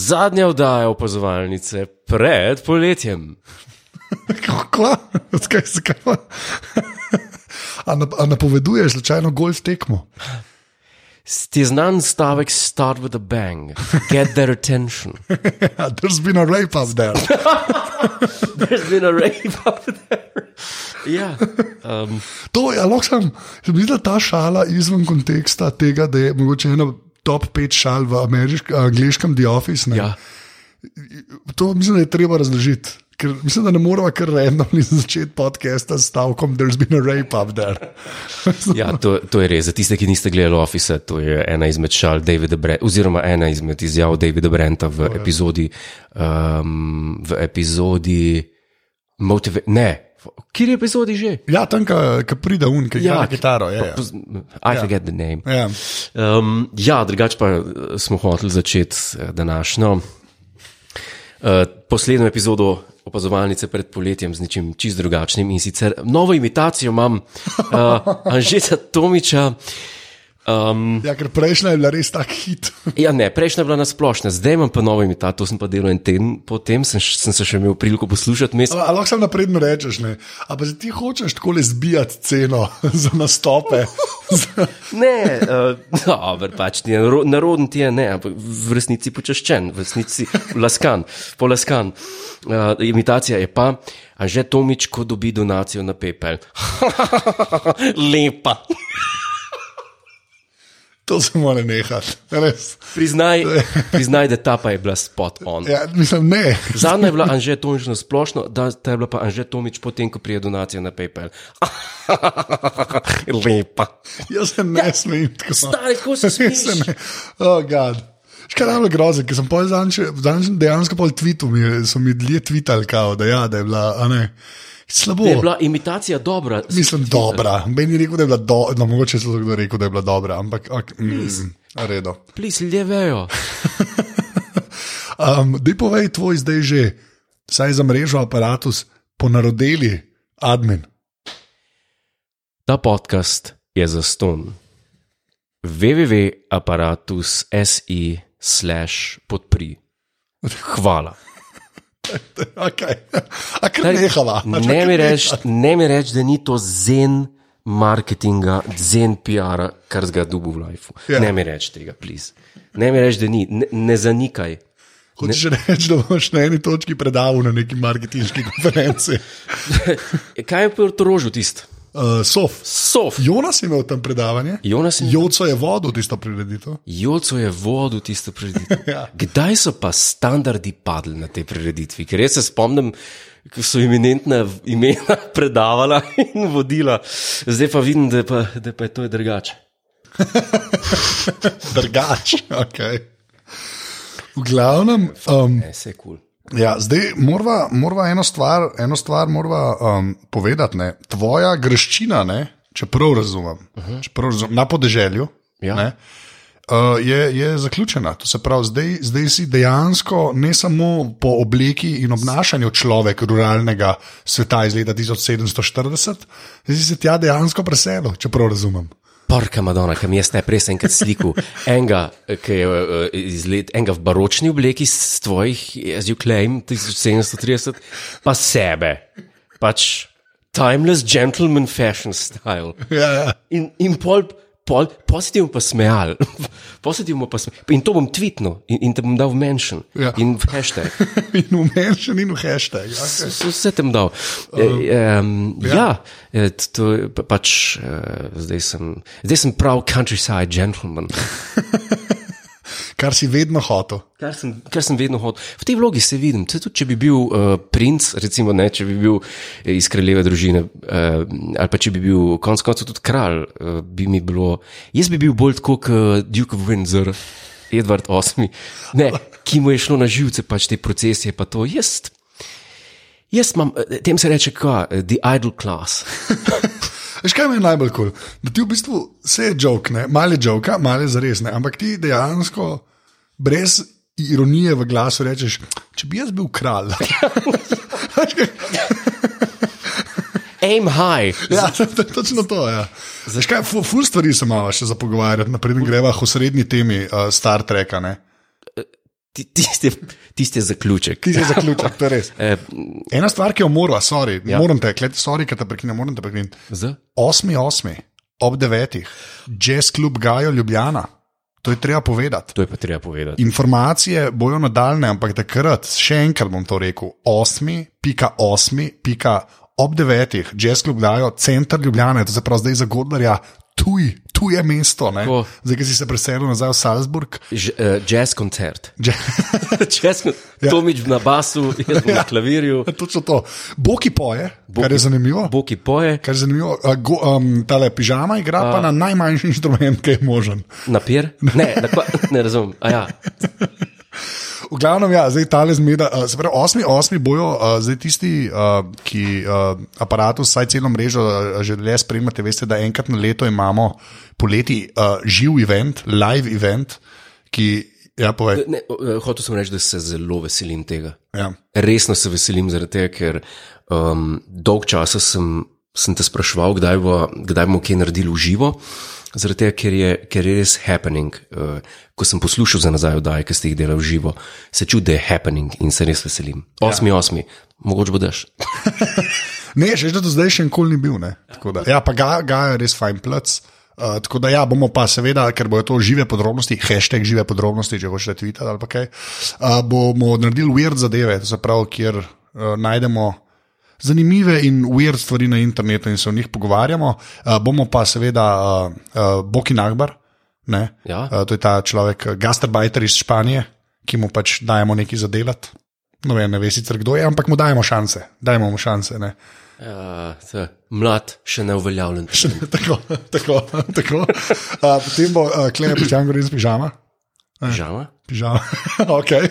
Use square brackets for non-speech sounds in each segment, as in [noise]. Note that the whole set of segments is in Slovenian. Zadnja oddaja opazovalnice pred poletjem. Kako? Zakaj se kaj? A, nap a napoveduješ slučajno golf tekmo? Ti je znan stavek start with a bang, get their attention. Ja, There's been a rape up there. [laughs] There's been a rave up there. Ja, um, To je, lahko sem, je bila ta šala izven konteksta tega, da je mogoče ena top 5 šal v amerišk, angliškem The Office. ne. ja. To mislim, da je treba razložiti. Ker mislim, da ne moramo kar randomno začeti podcasta s stavkom, there's been a rape up there. ja to, to je res. Za tiste, ki niste gledali Office, to je ena izmed šal Davida Brenta, oziroma ena izmed izjav Davida Brenta v epizodi, um, v epizodi Motive. Ne, kje je epizodi že? Ja, tam, ki pride un, ki igra ja, kitaro. Je, je. Poz- I forget the name. Ja. Um, ja, drugače pa eh, smo hoteli začeti eh, današnjo uh, poslednjo epizodo opazovalnice pred poletjem z nečim čist drugačnim in sicer novo imitacijo imam uh, Anžeta Tomiča. Um, ja, ker prejšnja je bila res tak hit. ja, ne, prejšnja je bila nasplošna, zdaj imam pa novo imitacijo, to sem pa delal en teden, potem sem, š- sem se še imel priliko poslušati. Mes, A lahko sem napredno rečeš, ne. Ampak ti hočeš tako le zbijati ceno [laughs] za nastope. [laughs] [laughs] Ne, uh, dober, pač ti je naro- naroden, ti je ne, ampak v resnici počaščen, v resnici laskan, polaskan. Uh, imitacija je pa, a že Tomič, ko dobi donacijo na PayPal. [laughs] Lepa. to se mora nehati, res. Priznaj, priznaj, da ta pa je bila spot on. Ja, mislim, ne. Zadnja je bila Anže Tomič na splošno, da ta je bila pa Anže Tomič potem, ko prije donacija na PayPal. [laughs] Lepa. Jaz se ne ja. smem tako. [laughs] Stari, kako se Res se smeješ? ne. Oh, God. Škoda je bilo grozno, ker sem pol zanče, dejansko pol tweetu, mi, je- so mi ljudje tweetali, kao, da, ja, da je bila, a ne. Slabo. Je bila imitacija dobra. Mislim, dobra. Meni je rekel, da je bila dobra, no, mogoče so kdo rekel, da je bila dobra, ampak ok, mm, redo. Plis, ljudje vejo. Um, Dej povej, tvoj zdaj že, saj za mrežo aparatus, ponarodeli admin. [laughs] Ta podcast je za ston. www.apparatus.si slash podpri. Hvala. Okay. A kar nehala. Ne mi reči, reč, da ni to zen marketinga, zen PR-a, kar zga dubu v lifeu. Ja. Yeah. Ne mi reči tega, plis. Ne mi reči, da ni, ne, ne zanikaj. Hočeš reči, da boš na eni točki predaval na neki marketinški [laughs] konferenci. Kaj je pri torožju tisto? Uh, Sof. Sof. Jonas je imel tam predavanje. Jonas in Joco je vodil tisto prireditev. Joco je vodil tisto prireditev. Ja. Kdaj so pa standardi padli na tej prireditvi? Ker jaz se spomnim, ko so iminentna v- imena [laughs] predavala in vodila, zdaj pa vidim, da, je pa, da pa je to drugače. Drugač. [laughs] Okay. V glavnem, um, E, se je kul. Cool. ja, zdaj morava, morava eno stvar, eno stvar morava, um, povedati. Ne? Tvoja greščina, ne? če prav razumem, uh -huh. če prav razumem na podeželju. Ja. ne, Uh, je, je zaključena. To se pravi, zdaj, zdaj si dejansko ne samo po obleki in obnašanju človek ruralnega sveta iz leta 1740, zdaj si se tja dejansko preselil, če prav razumem. Parka Madonna, kam jaz ne prej sem enkrat slikal, enega, ki je eh, iz let, enega v baročni obleki s tvojih, as you claim, 1730, pa sebe, pač timeless gentleman fashion style. Ja, ja. In, in pol, pol, pozitivno pa smejal, [laughs] pozitivno pa smejal. In to bom tvitnil in, in te bom dal v menšin Ja. in v [laughs] hashtag. [laughs] In v menšini in v hashtag. ja. S- Okay. s- Vse tem dal. Um, ja, ja t- to je pa- pač eh, zdaj sem, zdaj sem prav countryside gentleman, Kar si vedno hotel. kar sem, kar sem vedno hodil. V tej vlogi se vidim, tudi tudi če bi bil uh, princ, recimo ne, če bi bil eh, iz kraljeve družine, uh, ali pa če bi bil konec koncev tudi kralj, uh, bi mi bilo, jaz bi bil bolj tako kot uh, Duke of Windsor. Edward VIII, ne, ki mu je šlo na živce, pač te procesije, pa to jaz. Jaz imam, eh, tem se reče, kaj, the idle class. Veš, kaj mi je najbolj kul? Cool? Da ti v bistvu vse je žog, malo je žog, malo je zares, ne? ampak ti dejansko brez ironije v glasu rečeš, če bi jaz bil kralj. Aim high. ja, to je točno to. Ja. Veš, kaj, fu- ful eh, stvari se malo še za pogovarjati, naprej greva k osrednji temi uh, Star Treka. Ne? ti- tiste, tiste zaključek. Ti si zaključek, to je res. Eh, Ena stvar, ki jo morava, sorry, ja. moram te, kleti, sorry, ker te prekinem, moram te prekiniti. z? 8.8. ob 9. jazz klub Gajo Ljubljana. To je treba povedati. To je pa treba povedati. Informacije bojo nadaljne, ampak takrat, še enkrat bom to rekel, 8.8. ob 9. jazz klub dajo center Ljubljana, to se pravi zdaj za Gordarja, tuj, tuje mesto. ne. Tako. Zdaj, ki si se preselil nazaj v Salzburg. [laughs] Ž, uh, jazz koncert. Dž- [laughs] Jazz, kon- Tomič na basu, jaz bom na klavirju, Točno to. Boki poje, Boki. kar je zanimivo. boki poje, Kar je zanimivo, a go, um, tale pižama igra pa na najmanjši inštrument, ki je možen. napir. Ne, na kva, ne razumem. A Ja. V glavnem, ja, zdaj tale zmeda. Uh, se pravi, osmi, osmi bojo uh, zdaj tisti, uh, ki uh, aparatus, vsaj celno mrežo, uh, že le spremljate. Veste, da enkrat na leto imamo poleti uh, živ event, live event, ki. Ja, povej. Ne, eh, hotel sem reči, da se zelo veselim tega. Ja. Resno se veselim zaradi tega, ker um, dolg časa sem, sem te spraševal, kdaj, bo, kdaj bomo kaj naredili v živo. Zaradi tega, ker je, ker je res happening. Uh, ko sem poslušal za nazaj oddaje, ki ste jih delali v živo, se čutim, da je happening in se res veselim. Osmi, ja. osmi, mogoče bo daš. Ne, še da do zdaj še nikoli ni bil. ne. Tako da, Ja, pa ga, ga je res fajn plac. Uh, tako da, ja, bomo pa seveda, ker bojo to žive podrobnosti, hashtag žive podrobnosti, če hočete tvitati ali pa kaj, uh, bomo naredili weird zadeve, to se pravi, kjer uh, najdemo zanimive in weird stvari na internetu in se o njih pogovarjamo. Uh, bomo pa seveda uh, uh, Boki Nagbar, ne? Ja. uh, to je ta človek, eh, gastarbajter iz Španije, ki mu pač dajemo nekaj zadelati. No, vem, ne veš sicer kdo je, ampak mu dajemo šanse, dajemo mu šanse. Ne? Ja, se, mlad, še neuveljavljen. [laughs] tako, tako. tako. Uh, potem bo uh, Klej Pižam govoril iz pižama. Žama? pižama. [laughs] okay.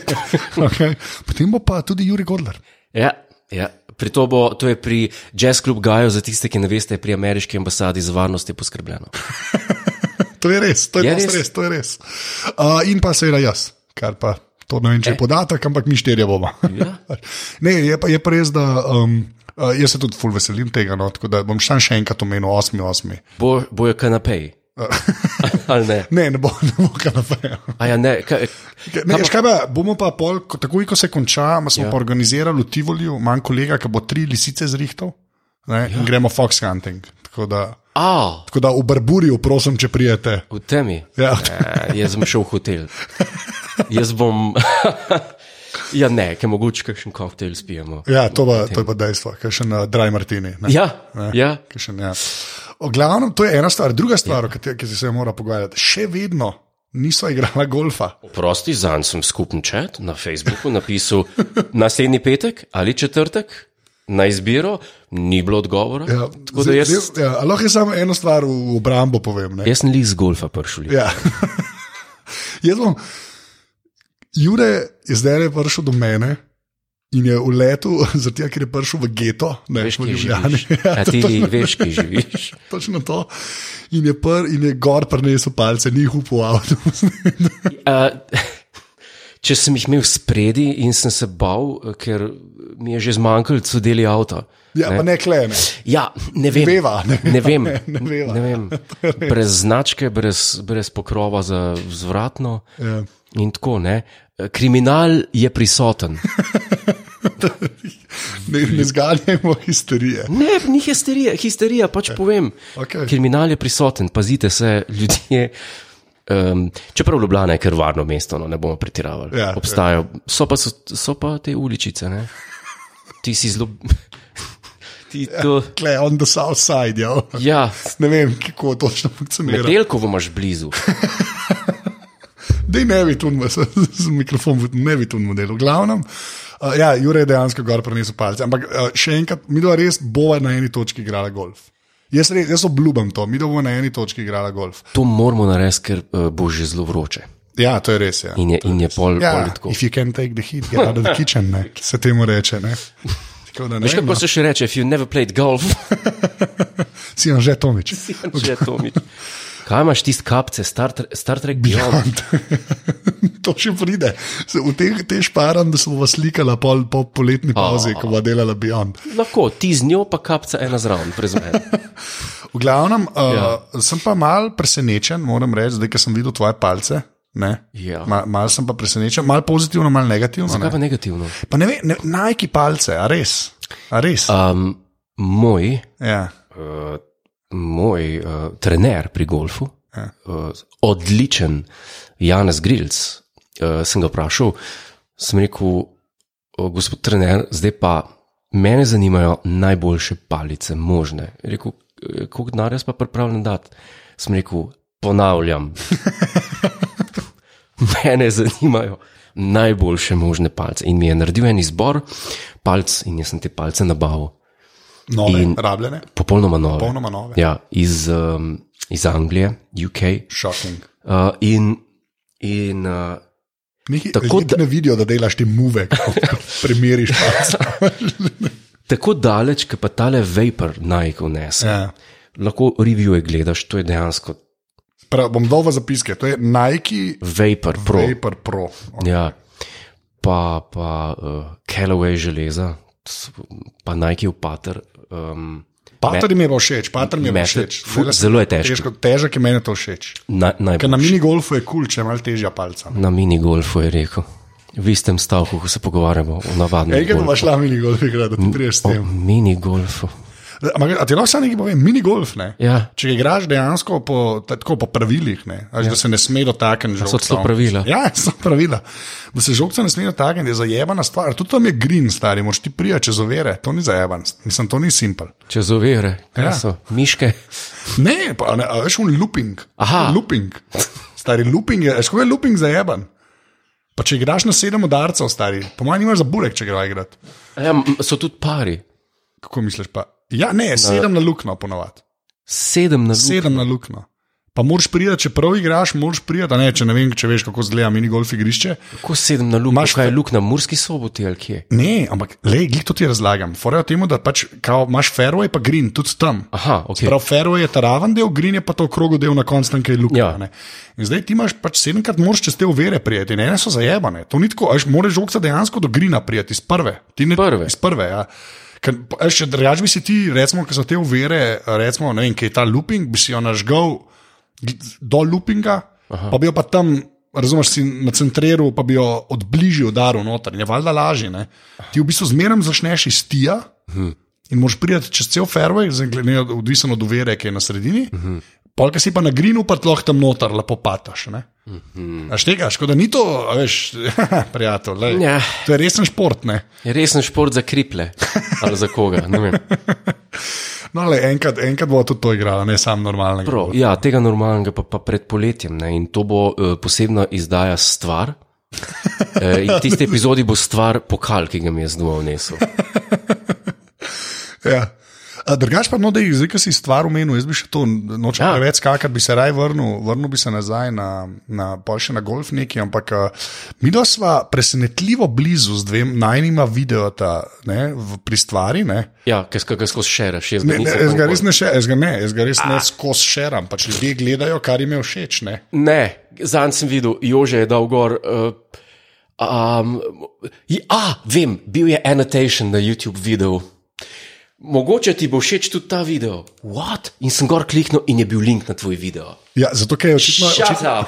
Okay. Potem bo pa tudi Juri Godler. Ja, ja. Pri to, bo, to je pri jazz klubu Gaju, za tiste, ki ne veste, je pri ameriški ambasadi za varnost je poskrbljeno. To je res, to je, Je je res. res? res, to je res. Uh, in pa seveda jaz, kar pa to ne vem, če je podatek, ampak mi štirje bomo. Ja. [laughs] ne, je pa, je pa res, da um, uh, jaz se tudi ful veselim tega, no, tako da bom šel še enkrat omenil 8.8. Bo, bojo kanapeji. Ali ne? Ne, ne bo, ne bo kar naprej. A ja, ne, kaj, Ne, veš kaj pa, bomo pa pol, ko, takoj, ko se konča, ma smo ja. pa organizirali v Tivoliju, manj kolega, ki bo tri lisice zrihtal ne, ja. in gremo fox hunting. Tako da, a, tako da v Barburiju, prosim, če prijete. v temi. [laughs] Ja. Eh, jaz bom šel v hotel. Jaz bom. [laughs] ja, ne, ker mogoče kakšen koktejl spijemo. Ja, to, pa, to je pa dejstvo, kaj še na Dry Martini. ne. Ja, ja. Kakšen, ja. O glavnem, to je ena stvar. Druga stvar, ja. o kateri ki se mora pogovarjati, še vedno niso igrala golfa. Prosti, zanj sem skupen čat na Facebooku napisal naslednji petek ali četrtek na izbiro, ni bilo odgovora. Ja, Tako da jaz, zdaj- ja, a lahko jaz samo eno stvar v obrambo povem. Ne? jaz sem lih z golfa prišel. Ja. [laughs] Jaz bom, Jure je zdaj le prišel do mene in je v letu, [laughs] zato ker je prišel v geto, ne Veš, veš, v kje [laughs] Ljubljani. živiš. A ti veš, kje živiš. Točno to. In je, pr, in je gor prenesel palce, ni jih upal v avto. Uh, [laughs] če sem jih imel spredi in sem se bal, ker mi je že zmanjkalo cedeli avto. [laughs] ja, pa ne klene. Ja, ne vem. Veva, ne [laughs] ne vem. ne veva. Ne [laughs] vem. Brez značke, brez, brez pokrova za vzvratno. Ja. In tako, ne. Kriminal je prisoten. Ne, ne zganjajmo histerije. Ne, ni histerija, histerija pač povem. Okej. Kriminal je prisoten, pazite se, [laughs] ljudje. Um, čeprav Ljubljana je kar varno mesto, no, ne bomo pretiravali. Ja, Obstajajo, so pa, so, so pa te uličice. Ne? Ti si zelo. [laughs] Ti Ja. to. Kle, on the south side, ja. Ja, Ne vem, kako točno funkcionira. Delkovo imaš blizu. Dej ne bi tu, [laughs] z mikrofonom, ne bi tu model. V glavnem, uh, ja, Jure je dejansko gor prenesel palce. Ampak uh, še enkrat, mi dva res bova na eni točki igrala golf. Jaz, res, jaz obljubim to, mi dva bova na eni točki igrala golf. To moramo narediti, ker uh, bo že zelo vroče. Ja, to je res. Ja. In je, in je pol, ja, pol Ja, tako. if you can take the heat, get out of the kitchen, ne, ki se temu reče. Ne. [laughs] Tako da ne, Veš, vem, kako no. se še reče, if you never played golf, [laughs] si on že Tomič. če to mi. Kaj imaš tiste kapce, Star, Tre- Star Trek Ja. Beyond? [laughs] to še pride. Se, v te, te šparam, da smo vas slikala pol, po poletni pauzi, oh. ko bo delala Beyond. Lahko ti z njo, pa kapca ena zraven, prezumem. eh, V glavnem, uh, ja. sem pa mal presenečen, moram reči, zdaj, ker sem videl tvoje palce. Ja. Mal, mal sem pa presenečen, mal pozitivno, mal negativno. Zakaj Ne? pa negativno? Pa ne vem, ne- Nike palce, a res. A res. Um, moj, Ja. uh, moj uh, trener pri golfu, Ja. uh, odličen Janez Grilc, uh, sem ga vprašal, sem rekel, "O, gospod trener, zdaj pa mene zanimajo najboljše palice možne. Je Rekel, "Eh, koliko denarja sem pa pripravljen dati? Sem rekel, ponavljam, [laughs] mene zanimajo najboljše možne palice. In mi je naredil en izbor palc in jaz sem te palce nabavil. Nove, in... rabljene, Popolnoma nove. popolnoma nove. Ja, iz, um, iz Anglije, UK. Shocking. Uh, in in uh, Nekaj, Tako Tako da ne vidijo, da delaš ti muve, ko [laughs] primeriš palce. tako daleč, ki pa tale vapor naj unese. ja. Lahko revije gledaš, to je dejansko Prav, bom dal v zapiske, to je Nike vapor, pro. Vape. Paper Pro. Okay. Ja. Pa, pa uh, Callaway železa, s- pa Nike upater. Um, Pater mi je pa všeč, pater mi je pa Mete- všeč. fu- Dela se zelo je težko. Težko, težek je meni to všeč. na, najbolj- Ker na mini golfu je kul, cool, če je malo težja palca. na mini golfu je rekel. V istem stavku, ko se pogovarjamo o navadnem. Enkrat golfu. boš šla mini golf, igra, da ti priješ s O tem. mini golfu. Ampak, a ti lahko samo nekaj povem, mini golf ne. Ja. Če ga igraš dejansko po, ta- tako, po pravilih, ne, ja. da se ne sme dotakniti žogice. celo pravila. Ja, [laughs] so pravila. Da se žogice ne sme dotakniti, je zajebana stvar. Tudi tam je green, stari, moraš ti prija čez ovire, to ni zajeban, mislim, to ni simpel. Čez ovire, ja. Ja. so miške. Ne, pa ne, a veš, un looping. Aha. Looping. Stari looping je, škoda je looping zajeban. Pa če igraš na sedem udarcev, stari, po mojem, imaš za burek, če greš igrati. Ja, m- so tudi pari, Kako misliš pa? Ja, ne, sedem na luknjo ponavadi. sedem na sedem. sedem na luknjo. Pa moraš priti, če prav igraš, moraš priti, a ne, če ne vem, če veš, kako zgleda mini golf igrišče. Kako sedem na luknjo? Imaš Kaj je luknja, murski soboti ali kje? Ne, ampak le, glej, to ti razlagam. Forejo temu, da pač kao, imaš fairway, pa green, tudi tam. Aha, ok. Prav fairway je ta raven del, green je pa to okrogo del na koncu, tam, kjer je luknja. Ja. Ja. In zdaj ti imaš pač sedemkrat moraš čez te uvere prijeti, in ene so zajebane. To ni tako, až moraš žogca dejansko do grina prijeti, iz prve. Ti ne, Prve. Iz prve, ja. Ker, pa, a veš, če drugač bi si ti, recimo, ki so te uvere, recimo, ne vem, kaj je ta looping, bi si jo nažgal gl- do loopinga, Aha. pa bi jo pa tam. Razumeš, si na centru, pa bi jo odbližil, udaril noter, in je valjda lažje. Ne? Ti v bistvu zmeraj začneš iz tija, In moš priti čez cel fairway, zdaj glede- odvisen od uvere, ki je na sredini. Uh -huh. Polka si pa na grinu, pa tloh tam noter, lepo pataš. Uh -huh. Až tega, škoda ni to, a veš, [laughs] prijatelj. lej. Ja. To je resen šport. Ne? Je resen šport za [laughs] kriple ali za koga. ne vem. No, le enkrat, enkrat bo tudi to igrala, ne sam normalnega. Prav, ja, tega normalnega pa, pa pred poletjem ne? in to bo uh, posebna izdaja [laughs] stvar. Eh, In v tisti epizodi bo stvar pokal, ki ga mi je zdaj vnesel. Ja. A Drugač pa, no, da jih zdaj, ki si stvar omenil, jaz bi še to nočel Ja. ja. preveč skakati, bi se raj vrnil, vrnil bi se nazaj na, na pol še na golf neki, ampak uh, mi dva sva presenetljivo blizu z dvema najnima videota ne, v, pri stvari. Ne. Ja, ker sk- ker skozi šeraš, jaz ga Ne, ne, nisem. jaz ga nikoli- res ne, še, jaz ga ne, jaz ga res Ah. ne skozi šeram. Pač ljudje gledajo, kar jim je všeč. Ne? Ne, zanj sem videl, Jože je dal gor. Uh, um, je, a, vem, bil je annotation na YouTube video. Mogoče ti bo všeč tudi ta video. What? In sem gor kliknil in je bil link na tvoj video. Ja, zato ker je očitno, očitno, Šata!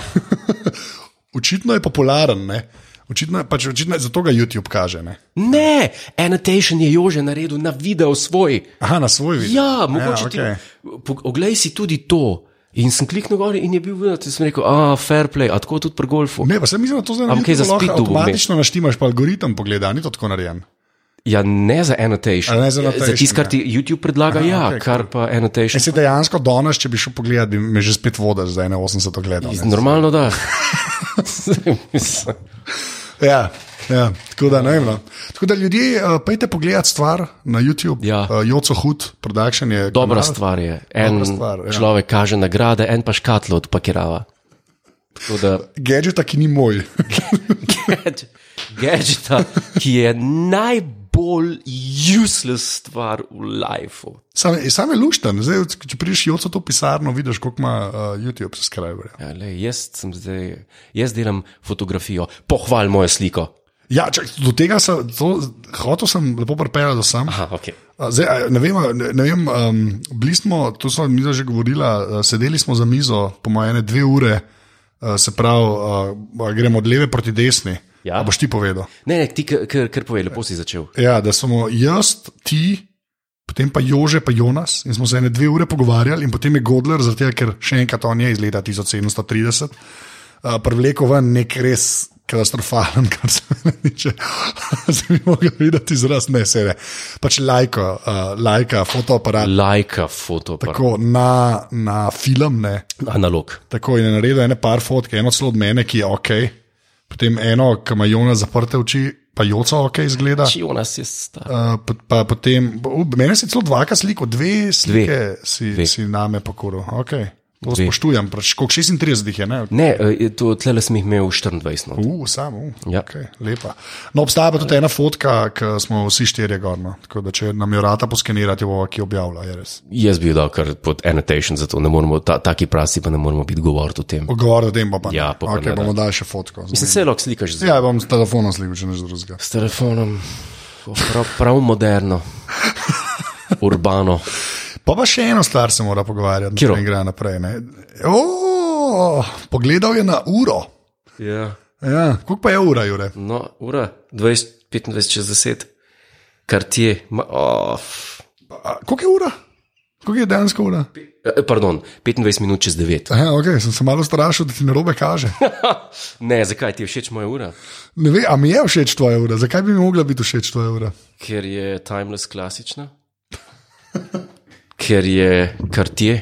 očitno je popularen. Ne? Očitno, je- pač očitno, je- zato ga YouTube kaže. Ne? Ne, annotation je Jože naredil na video svoj. Aha, na svoj video. Ja, mogoče ja, okay. okej. ti. po- Oglej si tudi to. In sem kliknil gor in je bil video, ti sem rekel, a fair play, a tako tudi pri golfu. Ne, pa se mi zdi, da to zdaj Ampak kaj za lahko speed dobil Avtomatično naštimaš, pa algoritem pogleda, ni to tako narejen. Ja, ne za annotation. A ne za za annotation, tisto, kar ja. ti YouTube predlaga, Aha, ja, okej, okay, kar pa annotation. In se dejansko danes, če bi šel pogledat, bi me že spet vodaš za 81 gledal. ne. Normalno [laughs] da. Ja, ja, tako da ne vem. no. Tako da ljudje, uh, pejte pogledat stvar na YouTube. Ja. Uh, Joco Hud, production je. Dobra kanal. stvar je. En Dobra stvar, ja. človek kaže nagrade, en pa škatlo odpakirava. Tako [laughs] da Gadžeta, ki ni moj. [laughs] gad- gadgeta, ki je najbolj useless stvar v lifeu. Sam, sam je lušten, zdaj, če prideš Joco to pisarno, vidiš, koliko ima uh, YouTube subscriberjev. Ja, lej, jaz sem zdaj, jaz delam fotografijo, pohval mojo sliko. Ja, čak, do tega sem, to, hotel sem lepo pripeljati do sam. Aha, okay. A, Zdaj, a, ne vem, a, ne, ne vem um, bili smo, to smo mi že govorili, sedeli smo za mizo, po mojem, ene dve ure, Uh, se pravi, uh, gremo od leve proti desni. Ja. A Boš ti povedal? Ne, ne, ti kar, kar- kar povej, lepo si začel. Ja, da smo jaz, ti, potem pa Jože, pa Jonas in smo se ene dve ure pogovarjali, in potem je Godler, zato ker še enkrat on je iz leta 1730, uh, privlekel ven nek res katastrofalen, [laughs] kar se mene tiče. [laughs] Zdaj bi mogel videti izraz, ne sebe. Pač lajko, uh, lajka, fotoaparat. Lajka, fotoaparat, Tako na, na film, ne. analog. Tako in je naredil ene par fotk, eno celo od mene, ki je ok, potem eno, ki ima Jona zaprte oči, pa Joca ok izgleda. Či ona si je star. Uh, pa, pa potem, bo- u, mene si celo dvakrat sliko, dve slike dve. Si, Dve. dve. si name pokoril. Okay. To Dve. dve. spoštujem, pač, koliko 36 jih je, ne? Ne, eh, to tle sem jih imel 24. No. Uh, samo, uh, Ja. ja. okay, lepa. No, obstaja pa tudi ena fotka, ki smo vsi štirje gorno. Tako da, če nam jo rata poskenirati, jo bo ki objavlja, je res. Jaz bi jo dal kar pod annotation, zato ne moremo, ta, taki prasi pa ne moremo biti govoriti o tem. Odgovor o tem pa pa. Ja, pa pa okay, ne, bomo dali še fotko. Mislim, se lahko slikaš z, Ja, bom s telefonom slikal, če ne z drugega. s telefonom, prav, prav moderno, urbano. Pa pa še eno stvar se mora pogovarjati, Katero? ne gre naprej. Ne? O, pogledal je na uro. Ja. Ja, koliko pa je ura, Jure? No, ura 20, 25 čez 10, kar ti je. Ma, oh, A, Koliko je ura? Koliko je dejansko ura? E, pardon, 25 minut čez 9. Aha, okay, sem se malo strašil, da ti na robe kaže. ne, zakaj ti je všeč moja ura? Ne vem, a mi je všeč tvoja ura, zakaj bi mi mogla biti všeč tvoja ura? Ker je timeless klasična, ker je kar ti je.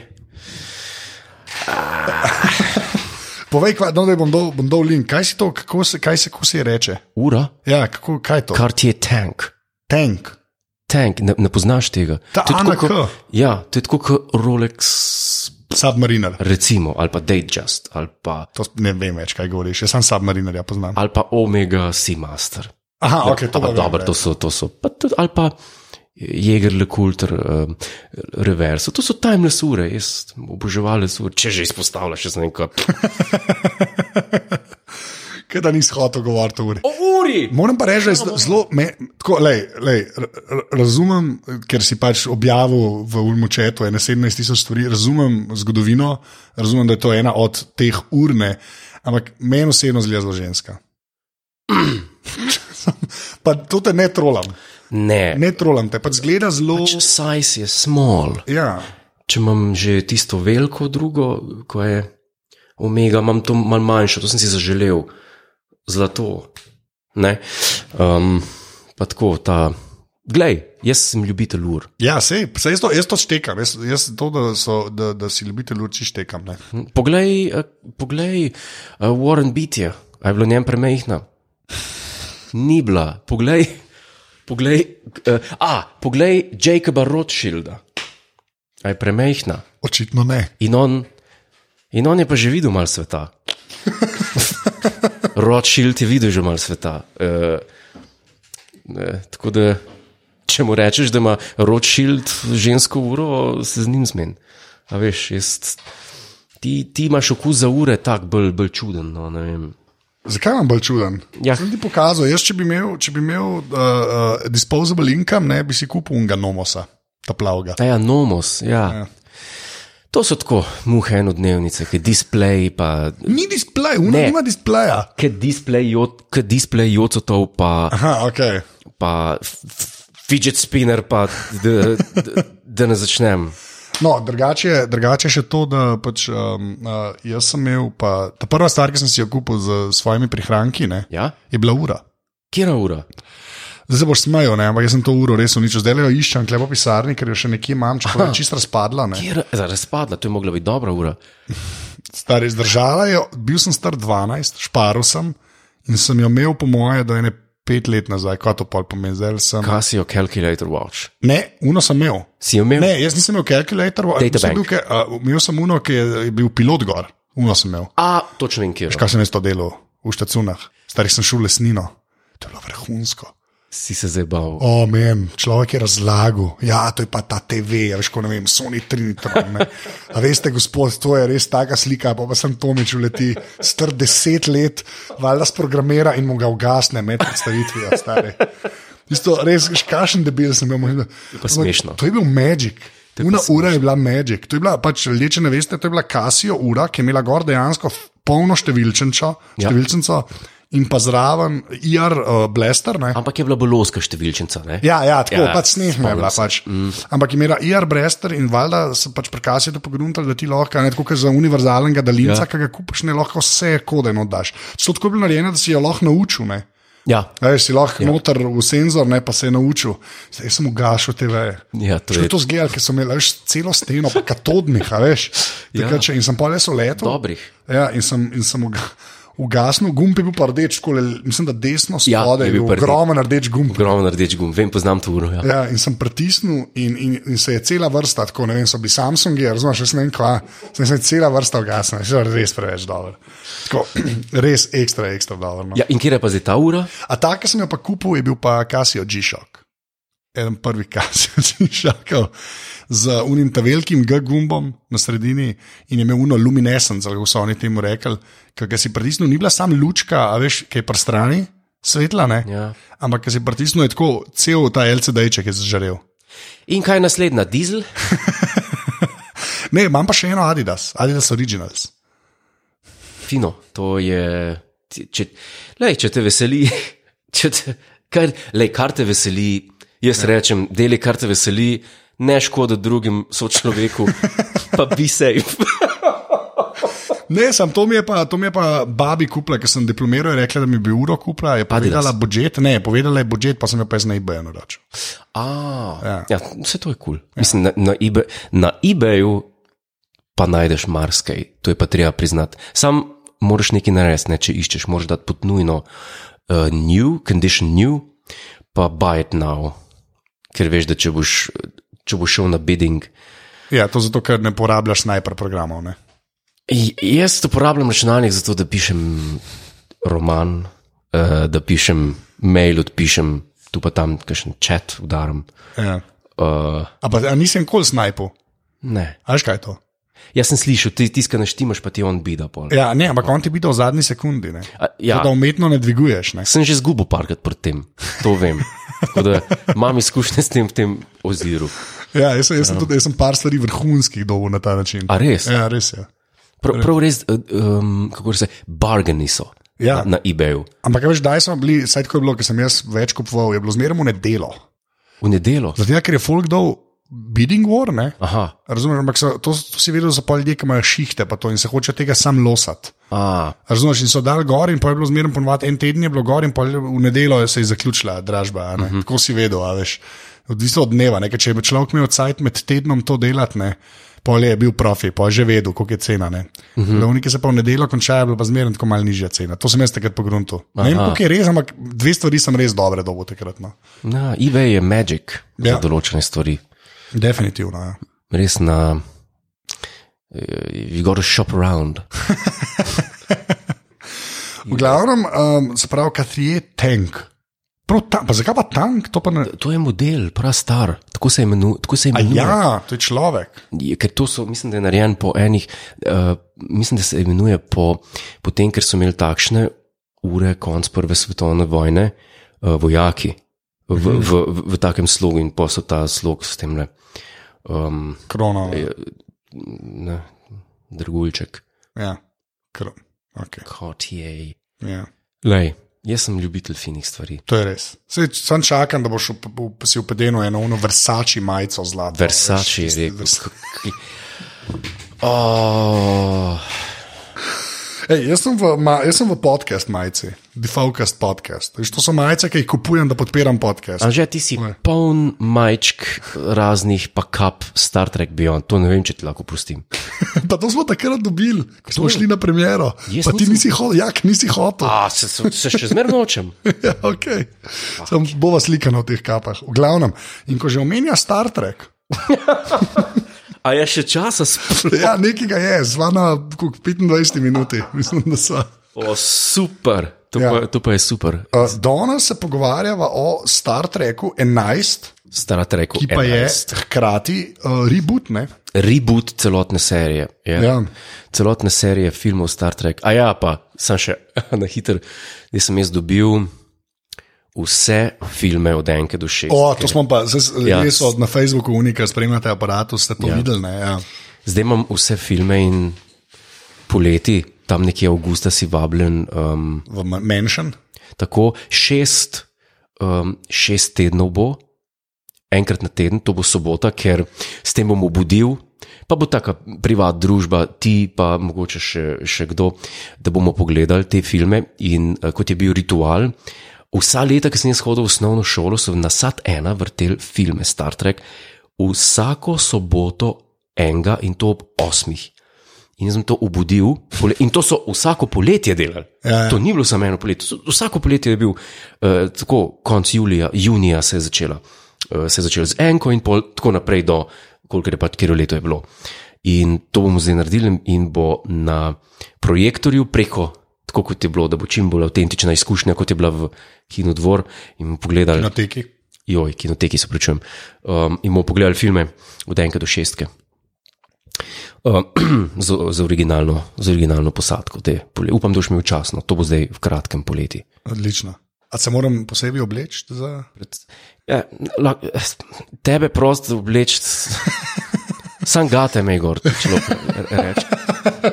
Povej, kva, no, da bom dal, bom dal link, kaj si to, kako se, kaj se, kako se ji reče. Ura, Ja, kako, kaj je to? kar ti je tank. Tank. Tank, ne, ne poznaš tega. Ta To je tako ANK. kot- Ja, to je tako kot Rolex, Submariner. recimo, ali pa Datejust, ali pa, To ne vem več, kaj govoriš, jaz sem submariner, ja poznam. ali pa Omega Seamaster. Aha, ok, Ja, to Ja, Pa pa dobro, to so, to so, pa tudi, ali pa Jäger, Le Coulter, um, Reverso, to so timeless ure, jaz oboževalec ur, če že izpostavljaš, jaz ne vem kaj. Kaj da nisi hotel govoriti o uri. O uri! Moram pa reči, da je zelo- zelo, me- tako, lej, lej, r- r- razumem, ker si pač objavil v Ulmučetu 17 tisoč stvari, razumem zgodovino, razumem, da je to ena od teh urne, ampak meni osebno zgleda zelo ženska. [clears throat] pa to te ne trolam, Ne, ne trolam te, pač zgleda zelo. Če size je small. Ja, Če imam že tisto veliko drugo, ko je omega, imam to malo manjšo, to sem si zaželel, zlato. Ne? Um, pa tako ta. Glej, jaz sem ljubitelj ur. ja sej, sej jaz, to, jaz to štekam, jaz, jaz to, da, so, da, da si ljubitelj luči, štekam. Ne? Poglej, eh, poglej eh, Warren Beatty, a je bila njem premehna. Ni bila. Poglej, poglej, uh, a, poglej Jacoba Rothschilda, a je premehna. Očitno ne. In on, in on je pa že videl malo [laughs] sveta. Rothschild je videl že malo sveta. Uh, uh, tako da, če mu rečeš, da ima Rothschild žensko uro, se z njim zmeni. A veš, jaz, ti, ti imaš okus za ure, tako bolj, bolj čuden. No, ne vem. Zakaj vam bolj čuden? Ja. Sem ti pokazal, jaz, če bi imel, če bi imel uh, uh, disposable income, ne bi si kupil unga nomosa, ta plavga. A ja, nomos. Ja. Ja. To so tako muhe enodnevnice, ki display, pa Ni displej, unga Ne. nima displeja. ki display, jod, ki display jocotov, pa Aha, ok. pa f- f- fidget spinner, pa da, da, da ne začnem. No, drugače je- drugače je še to, da pač, um, uh, jaz sem imel, pa, ta prva stvar, ki sem si jo kupil z svojimi prihranki, ne, Ja? je bila ura. Kje je ura? Zdaj se boš smejal, ne, ampak jaz sem to uro res uničil, zdaj jo iščem, klepo pisarni, ker jo še nekje imam, čeprav je čisto razpadla. Ne. Kje je ra- za e, razpadla, to je mogla biti dobra ura. Stari, zdržala je, bil sem star 12, šparil sem in sem jo imel, po moje, do ene pet let nazaj, kaj to pol pomeni, zdaj sem. Casio calculator watch. Ne, uno sem imel. Si jo imel? Ne, jaz nisem imel kalkulator, Data sem bil, bank. ke, a, imel sem uno, ki je je bil pilot gor, uno sem imel. A, točno vem, kje je. Kaj sem jaz to delal v štacunah, starih sem šel v lesnino, to je bilo vrhunsko. Si se zabaval. O, men, človek je razlagal, ja, to je pa ta TV, ja, veš, ko ne vem, Sony Trinitron. ne. A veste, gospod, to je res taka slika, pa, pa sem Tomič uleti, star deset let, valjda sprogramira in mu ga ugasne med predstavitvijo, stari. Isto, res, kašen debil sem bil. moj- pa smešno. To je bil Magic. Una ura je bila Magic, to je bila pač leče, ne veste, to je bila Casio ura, ki je imela gor dejansko f- polno številčenčo, Ja. številčenco in pa zraven IR uh, Blaster. Ne? Ampak je bila boloska številčnica. Ne? Ja, ja, tako Ja, ja, pač smešno je bila. Pač. Mm. Ampak je imela IR Brester in valjda se pač prekasi to pogruntali, da ti lahko, ne tako kot za univerzalnega daljinca, Ja. ja. ki ga kupiš, ne lahko vse kode nodaš. So tako bilo narejeno, da si jo lahko naučil. Ne? Ja, Ej, si lahko ja. noter v senzor, ne pa se je naučil. Zdaj sem ugašal TV. Ja, to je- je to zgledal, ker sem imel a veš, celo steno, pa katodnih, a veš. Ja. Takrat, ja. In sem pa le letel. Dobrih. Ja, in sem, in sem uga, ugasnil, gumb je bil pa rdeč, škole, mislim, da desno Ja, spode, je ja, bil je bil pa rdeč. ogromen rdeč gumb. ogromno rdeč gum, vem, poznam to uro. Ja. Ja, in sem pritisnil, in, in, in se je cela vrsta, tako ne vem, so bili Samsungi, razumem, še ne vem, kva, sem se je cela vrsta ugasnila, še res preveč dobro. Tako, [clears throat] res ekstra, ekstra dobro. No. Ja, in kje je pa zdaj ta ura? A ta, ki sem jo pa kupil, je bil pa Casio G-Shock. Eden prvih [laughs] Casio G-Shockov z unim ta velikim G-gumbom na sredini in je imel uno luminescence, kako so oni temu rekli. Ker ga si pritisnil, ni bila samo lučka, a veš, kaj je pri strani, svetla, ne? Ja. Ampak, ki si pritisnil, je tako cel ta LCD-ček je zažarel. In kaj je naslednja? Dizel? Ne, imam pa še eno Adidas, Adidas Originals. Fino, to je. ti- Če, lej, če te veseli, [laughs] če te, kar, lej, kar te veseli, jaz ne. rečem, deli, kar te veseli, ne škoda drugim sočloveku, pa bi safe. Ne, sem to mi je pa, to mi je pa babi kupila, ker sem diplomiral, je rekla, da mi bi uro kupila, je povedala budžet, ne, povedala je budžet, pa sem jo pa jaz na eBayu naročil. A, ja. Ja. Ja, vse to je kul. Cool. Ja. Mislim, na, na, eBay, na eBayu pa najdeš marsikaj, to je pa treba priznati. Sam moraš nekaj narediti, ne, če iščeš, moraš dati pod nujno uh, new, condition new, pa buy it now. Ker veš, da če boš, če boš šel na bidding. Ja, to zato, ker ne uporabljaš sniper programov. Ne? J- Jaz uporabljam računalnik zato, da pišem roman, uh, da pišem mail, odpišem tu pa tam, kakšen čat udarim. Ja. Uh, Ampak a nisem nikoli snajpil, ne. a veš kaj je to? Jaz sem slišal, ti tiskane štimaš, pa ti on bida. Pol. Ja, ne, ampak on ti bi dal v zadnji sekundi. Ne? A, ja. To, Da umetno ne dviguješ. Ne? Sem že zgubil parkrat pred tem, to vem. Tako da imam izkušnje s tem, v tem oziru. Ja, jaz, sem- jaz, sem tudi, jaz sem par stvari vrhunskih dobil na ta način. A res? Ja, torej. res je. Prav, prav res, eh, um, kako se reče, bargani so Ja. na, na eBayu. Ampak a veš, da smo bili, vsaj tako je bilo, ker sem jaz več kupoval, je bilo zmerno ne delo. V nedelo. Zato, ker je folk dal bidding war, ne? Aha, Razumem, ampak so, to, to si vedel za pol ljudi, ki imajo šihte pa to, in se hoče tega sam losati. a, Razumeš, in so dal gor, in pa je bilo zmerno ponovadi en teden, je bilo gor, in pa v nedeljo se je zaključila dražba. a Ne? Uh -huh. Tako si vedel, a veš. Odvisno od dneva, ne? ker če je človek imel cajt med tednom to delati, ne. Pol je bil profi, pa je že vedel, koliko je cena. Ne. Uh -huh. Lovniki se pa v nedeljo končajo, je bila pa zmerno tako malce nižja cena. To sem jaz takrat pogrunil. Ne vem, Aha. koliko je res, ampak dve stvari sem res dobre dobo takrat. No. na, eBay je magic ja. Ja. za določene stvari. Definitivno. Ja. Res na. eh, You gotta shop around. V glavnem, um, se pravi, kateri je tank. Prav ta, pa zakaj pa tank? To pa ne. To je model, prastar, tako se imenuje. Tako se A imenuje. ja, to je človek. Je, Ker to so, mislim, da je narejen po enih, uh, mislim, da se imenuje po, po tem, ker so imeli takšne ure, konc prve svetovne vojne, uh, vojaki v, v, v, v takem slogu in pa so ta slog s tem le, um, Krono. ne, drgulček, Ja, kar. Okay. kot je. Ja. Lej, jaz sem ljubitelj finih stvari. To je res. Sej, sam čakam, da boš up, up, si upedenil eno uno vrsači majico zlato. Versace je Veš, tisti rekel. vers- [laughs] Oh, Ej, jaz, sem v, ma, jaz sem v podcast majici, Defocast podcast. Veš, to so majice, ki jih kupujem, da podpiram podcast. Anže, ti si poln majčk raznih, pa kap Star Trek Beyond, to ne vem, če ti lahko prostim. [laughs] Pa to smo takrat dobili, ko smo šli na premjero. Jaz Pa ti nisem- nisi hotel, jak nisi hotel. A, se, se, se še zmeraj nočem. [laughs] Ja, okay. Sam bova slikana v teh kapah, v glavnem. In ko že omenja Star Trek, [laughs] A je še časa sploh? ja, nekega je, zvana koliko, 25 minuti, [laughs] mislim, da [laughs] so. O, super. To, ja. Ja. pa, to pa je super. Uh, danes se pogovarjava o Star Treku 11, Stara treko. ki pa je hkrati uh, reboot. Ne? Reboot celotne serije. Je. Ja. Celotne serije filmov Star Trek. A ja, pa sem še [laughs] na hiter. Jaz sem jaz dobil vse filme od enke do šest. O, to smo pa, zdaj Ja. ja. so na Facebooku unika, spremljate aparatus, ste to ja. videli. Ne? Ja. Zdaj imam vse filme in poleti tam nekje avgusta si vabljen. Um, v menšem. Ja. Tako šest, um, šest tednov bo, enkrat na teden, to bo sobota, ker s tem bom obudil. Pa bo taka privatna družba, ti pa mogoče še, še kdo, da bomo pogledali te filme. In eh, kot je bil ritual, vsa leta, ki sem jaz hodil v osnovno šolo, so na sad ena vrtel filme Star Trek, vsako soboto enega in to ob osmih. In jaz sem to obudil, pole- in to so vsako poletje delali. Ja, ja. To ni bilo samo eno poletje. so- Vsako poletje je bil, eh, tako konc julija, junija se je začela. Eh, se je začela z enko in pol, tako naprej do, koliko je pač, kjer leto je bilo. In to bomo zdaj naredili, in bo na projektorju preko, tako kot je bilo, da bo čim bolj avtentična izkušnja, kot je bila v Kinodvor. In bomo pogledali, Na teki. joj, kinoteki se pričujem. Um, in bomo pogledali filme od enega do šestke. Um, [clears throat] z, z, originalno, z originalno posadko. Te, pole- upam, da boš imel časno, to bo zdaj v kratkem poleti. Odlično. A se moram posebej obleči? [laughs] Za... Ja, la, tebe prost obleči, [laughs] sam gate me, gor, če lahko rečeš.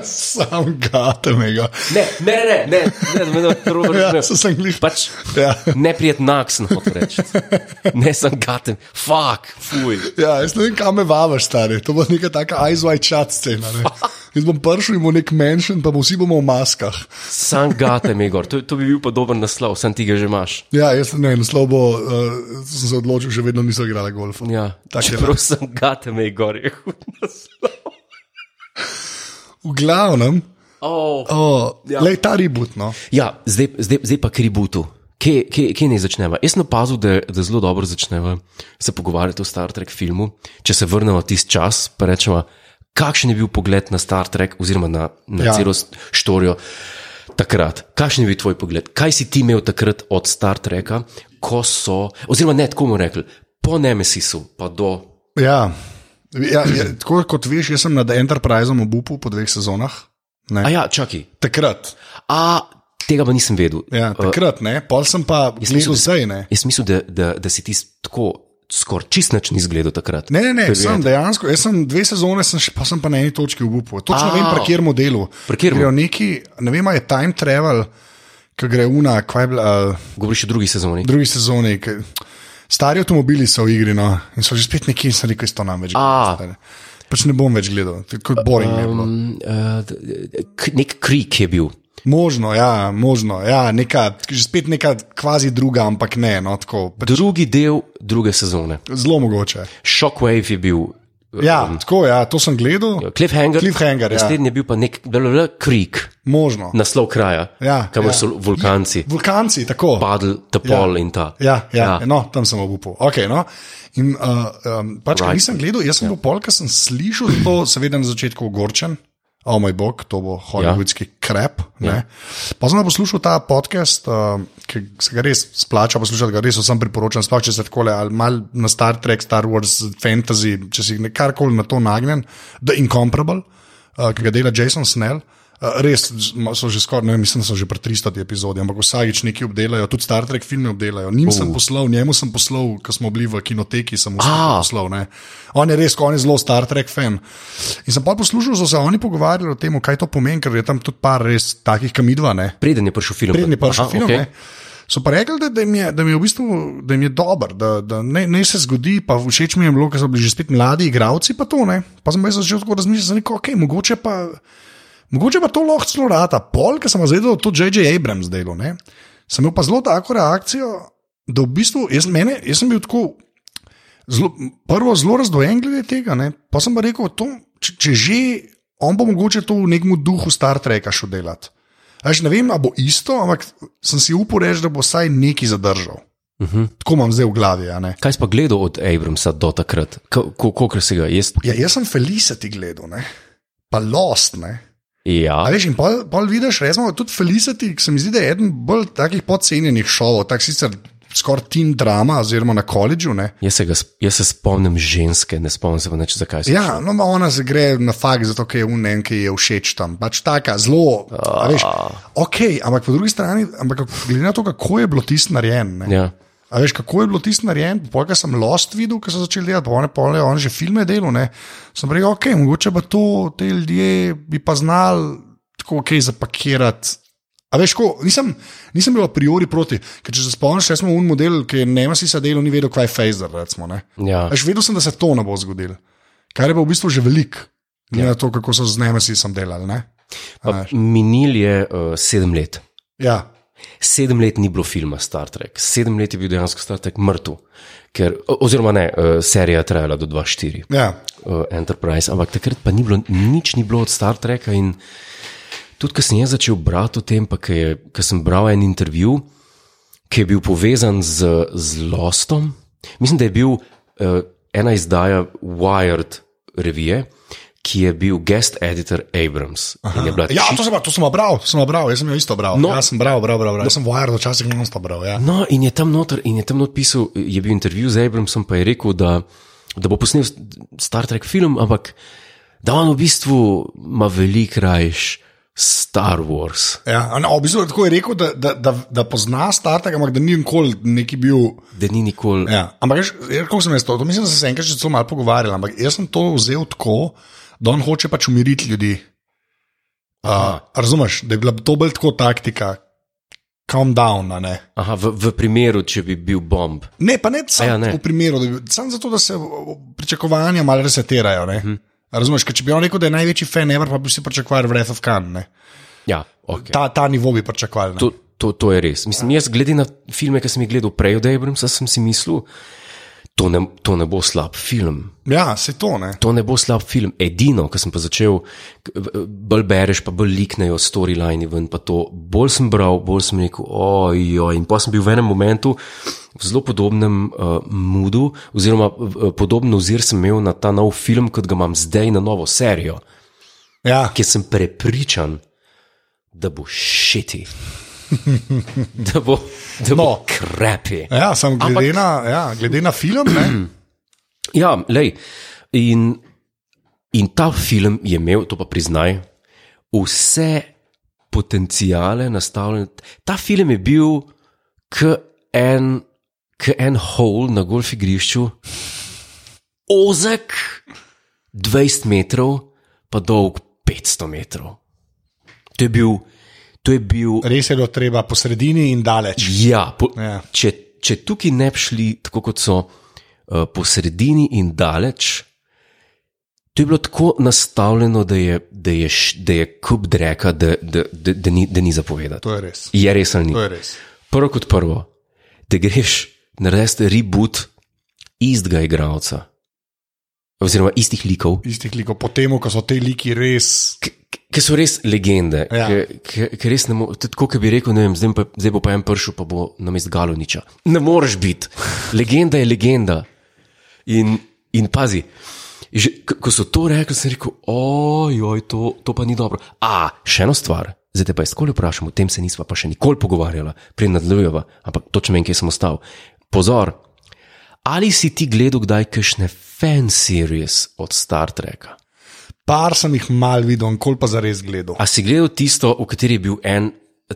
Sam gatemega. Ne, ne, ne, ne, ne, ne, ne, [laughs] Robert, ne, Ja, se sem glih. Pač Ja. neprijetnak sem hotel reči. [laughs] Ne, sem gatem, fuck, fuj. Ja, jaz ne vem, kam me vavaš, stari. To bo neka taka eyes wide shut scena. Ne? Jaz bom prišel in bo nek menšin, pa bo vsi bomo v maskah. Sam gate me, gor, to, to bi bil podoben naslov, sam ti ga že imaš. Ja, jaz ne vem, slobo uh, sem se odločil, še vedno niso igrali golfa. Ja, Tako je, Čeprav sem gate me, gor je hud naslov. V glavnem, Oh. oh, ja. lej ta ribut. No. [laughs] Ja, zdaj, zdaj, zdaj pa k ributu. Kje, kje, kje ne začneva? Jaz sem opazil, da, da zelo dobro začneva se pogovarjati o Star Trek filmu. Če se vrnemo tisti čas, pa rečemo, kakšen je bil pogled na Star Trek, oziroma na, na Ja. ja. celo štorijo takrat. Kakšen je bil tvoj pogled? Kaj si ti imel takrat od Star Treka, ko so, oziroma ne, tako mu rekli, po Nemesisu, pa do. Ja. Ja, ja, tako kot veš, jaz sem nad Enterpriseom obupu po dveh sezonah. A Ne. ja, čakaj. Takrat. A, tega pa nisem vedel. Ja, takrat ne, pol sem pa gledal zdaj. Ne. Jaz mislim, da, da, da si ti tako skoraj čist nič ni zgledal takrat. Ne, ne, ne, sem dejansko, jaz sem dve sezone, sem še, pa sem pa na eni točki obupal. Točno A. vem, pri kjer modelu. Pri katerem? Grejo neki, ne vem, a je time travel, ki gre una, kaj je bila, uh, Govoriš o drugi sezoni. drugi sezoni. Ki, stari avtomobili so v igri no, in so že spet nekje in sem rekel, isto nam več. A. gledati, stari. Pač ne bom več gledal, tako boring. Um, Um, uh, k- nek krik je bil. Možno, ja, možno, ja, neka, že spet neka kvazi druga, ampak ne, no, tako, pač Drugi del druge sezone. zelo mogoče. Shockwave je bil. eh, Ja, Um. tako, ja, to sem gledal, Cliffhanger. Cliffhanger, ja. Naslednji je bil pa nek bla, bla, bla, krik, možno. naslov kraja, Ja, kamor ja. so vulkanci Vulkanci, tako. padli, topol ja. in ta. Ja, ja, Ja. ja. No, tam sem obupal. Okay, no. In uh, um, pač, Right. right. nisem gledal, jaz sem ja. popolk, sem slišal to, seveda na začetku ogorčen. O oh moj bog, to bo holivudski ja. krep. Ja. Pa sem pa poslušal ta podcast, uh, ki se ga res splača poslušati, ga res vsem priporočam, sploh če se tako le ali mal na Star Trek, Star Wars, fantasy, če si karkoli na to nagnjen, The Incomparable, uh, ki ga dela Jason Snell. Uh, Res z- ma- so že skoraj, ne vem, mislim, da so že pri 300 epizodi, ampak vsakič nekaj obdelajo, tudi Star Trek filme obdelajo. Njim uh. sem poslal, njemu sem poslal, ko smo bili v kinoteki, sem mu Ah. poslal. Ne. On je res, on je zelo Star Trek fan. In sem pa poslušal, so se oni pogovarjali o tem, kaj to pomeni, ker je tam tudi par res takih, kam idva, ne. Preden je prišel film. Prednji prišel Aha, film. okej. Okay. So pa rekli, da, da, jim je, da, jim je v bistvu, da jim je dober, da, da ne, ne se zgodi, pa všeč mi je bilo, ker so bili že spet mladi igravci, pa to ne. Pa sem jaz začel tako razmišljati, da okay, mogoče pa. Mogoče pa to lahko celo rata. Pol, ki sem pa zvedel, da je to J.J. Abrams delo, ne? sem imel pa zelo tako reakcijo, da v bistvu jaz, mene, jaz sem bil tako zelo, prvo zelo razdojen glede tega, ne? pa sem pa rekel, to, če, če že on bo mogoče to v nekem duhu Star Treka šel delati. Až ne vem, ali bo isto, ampak sem si upal reči, da bo vsaj neki zadržal. Uh -huh. Tako imam zdaj v glavi. a ne. Kaj si pa gledal od Abramsa do takrat? Kolikor si ga jaz? Ja, jaz sem Felicity gledal, ne? pa Lost. Ne? A Ja, veš, in pol, pol vidiš, recimo, tudi Felicity, ki se mi zdi, da je eden bolj takih podcenjenih šovov, tako sicer skoraj teen drama, oziroma na koledžu. Ne? jaz se, ga, sp- jaz se spomnim ženske, ne spomnim se pa nič, zakaj sem. Ja, no, ma ona se gre na fakt, zato ker je unen, ki ji je všeč tam. Pač taka zelo, a veš, ok, ampak po drugi strani, ampak glede na to, kako je bilo tisto narejeno. ne. Ja. A veš, kako je bilo tisto narejeno, pol, ko sem Lost videl, ko so začeli delati, one pole, on že filme delo, ne. Sem rekel, ok, mogoče pa to, te ljudje bi pa znali tako ok zapakirati. A veš, ko, nisem, nisem bil a priori proti, ker če se spomniš, jaz smo un model, ki je Nemesisa delal, ni vedel, kaj je Phaser. Recimo, ne. Ja. Veš, vedel sem, da se to ne bo zgodilo, kar je pa v bistvu že velik, glede ja. na to, kako so z Nemesisom delali. Ne? Pa Minil je uh, sedem let. Ja, Sedem let ni bilo filma Star Trek, sedem let je bil dejansko Star Trek mrtev, ker, o- oziroma ne, uh, serija je trajala do 2004, ja. uh, Enterprise, ampak takrat pa ni bilo, nič ni bilo od Star Treka. In tudi, ko sem jaz začel brati o tem, pa ko je- ko sem bral en intervju, ki je bil povezan z, z Lostom, mislim, da je bil uh, ena izdaja Wired revije, ki je bil guest editor Abrams. in je bila ja to sem, pa- to sem pa bral, to sem pa bral, jaz sem jo isto bral. No. Ja, sem bral, bral, bral. bral. Jaz sem vojar, včasih nisem pa bral. Ja. No, in je tam noter, in je tam napisal, je bil intervju z Abramsom, pa je rekel, da, da bo posnel Star Trek film, ampak da on v bistvu ima velik rajš Star Wars. Ja, a no, v bistvu tako je rekel, da, da, da, da pozna startega, ampak da ni nikoli neki bil. Da ni nikoli. Ja. Ja. Ampak, veš, jaz- kako sem jaz to? to mislim, da sem se enkrat že zelo malo pogovarjal, ampak jaz sem to vzel tako, da on hoče pač umiriti ljudi. Uh, razumeš, da je bila to bolj tako taktika, calm down, a ne. Aha, v, v primeru, če bi bil bomb. Ne, pa ne samo A ja, ja, ne. ne. v primeru, da bi, samo zato, da se o, o, pričakovanja malo resetirajo. Uh Mhm. -huh. Razumeš, ker če bi on rekel, da je največji fan, ever, pa bi vsi pričakovali Breath of Khan. ne. Ja, okay. Ta, ta nivo bi pričakovali. ne. to, to, to je res. Mislim, jaz, glede na filme, ki sem jih gledal prej od Abramsa, sem si mislil, to ne, to ne bo slab film. Ja, se to ne. To ne bo slab film. Edino, ko sem pa začel, k- v- bolj bereš, pa bolj liknejo storyline ven, pa to bolj sem bral, bolj sem rekel, ojo. In pa sem bil v enem momentu v zelo podobnem uh, moodu, oziroma uh, podobno ozir sem imel na ta nov film, kot ga imam zdaj na novo serijo, Ja. ki sem prepričan, da bo šiti. [laughs] da bo, da bo No. no. krepi. Ja, sem glede, Ampak... na, ja, glede na film. Ne? [clears throat] Ja, lej. In, in ta film je imel, to pa priznaj, vse potencijale nastavljene. Ta film je bil k en, k en hol na golf igrišču, ozek 20 metrov, pa dolg 500 metrov. To je bil, to je bil Res je bilo treba po sredini in daleč. Ja, po, ja. Ja. Če, če tukaj ne bi šli tako, kot so uh, po sredini in daleč, to je bilo tako nastavljeno, da je, da je, š- da je kup dreka, da, da, da, da, ni, da ni zapovedati. To je res. Je res ali ni? To je res. Prvo kot prvo, da greš narediti reboot istega igralca, oziroma istih likov, Istih likov, potem, ko so te liki res. ki so res legende, Ja. ja. ki res ne moreš, tako kot bi rekel, ne vem, zdaj, pa, zdaj bo pa en pršil, pa bo na mest Galoniča. Ne moreš biti. Legenda je legenda. In, in pazi, že, k- ko so to rekli, sem rekel, ojoj, to, to pa ni dobro. A, še ena stvar. Zdaj te pa jaz koli vprašam, o tem se nisva pa še nikoli pogovarjala, prej nadaljujeva, ampak točno vem, kje sem ostal. Pozor, ali si ti gledal kdaj kakšne fan series od Star Treka? Par sem jih mal videl, nikoli pa za res gledal. A si gledal tisto, v kateri je bil en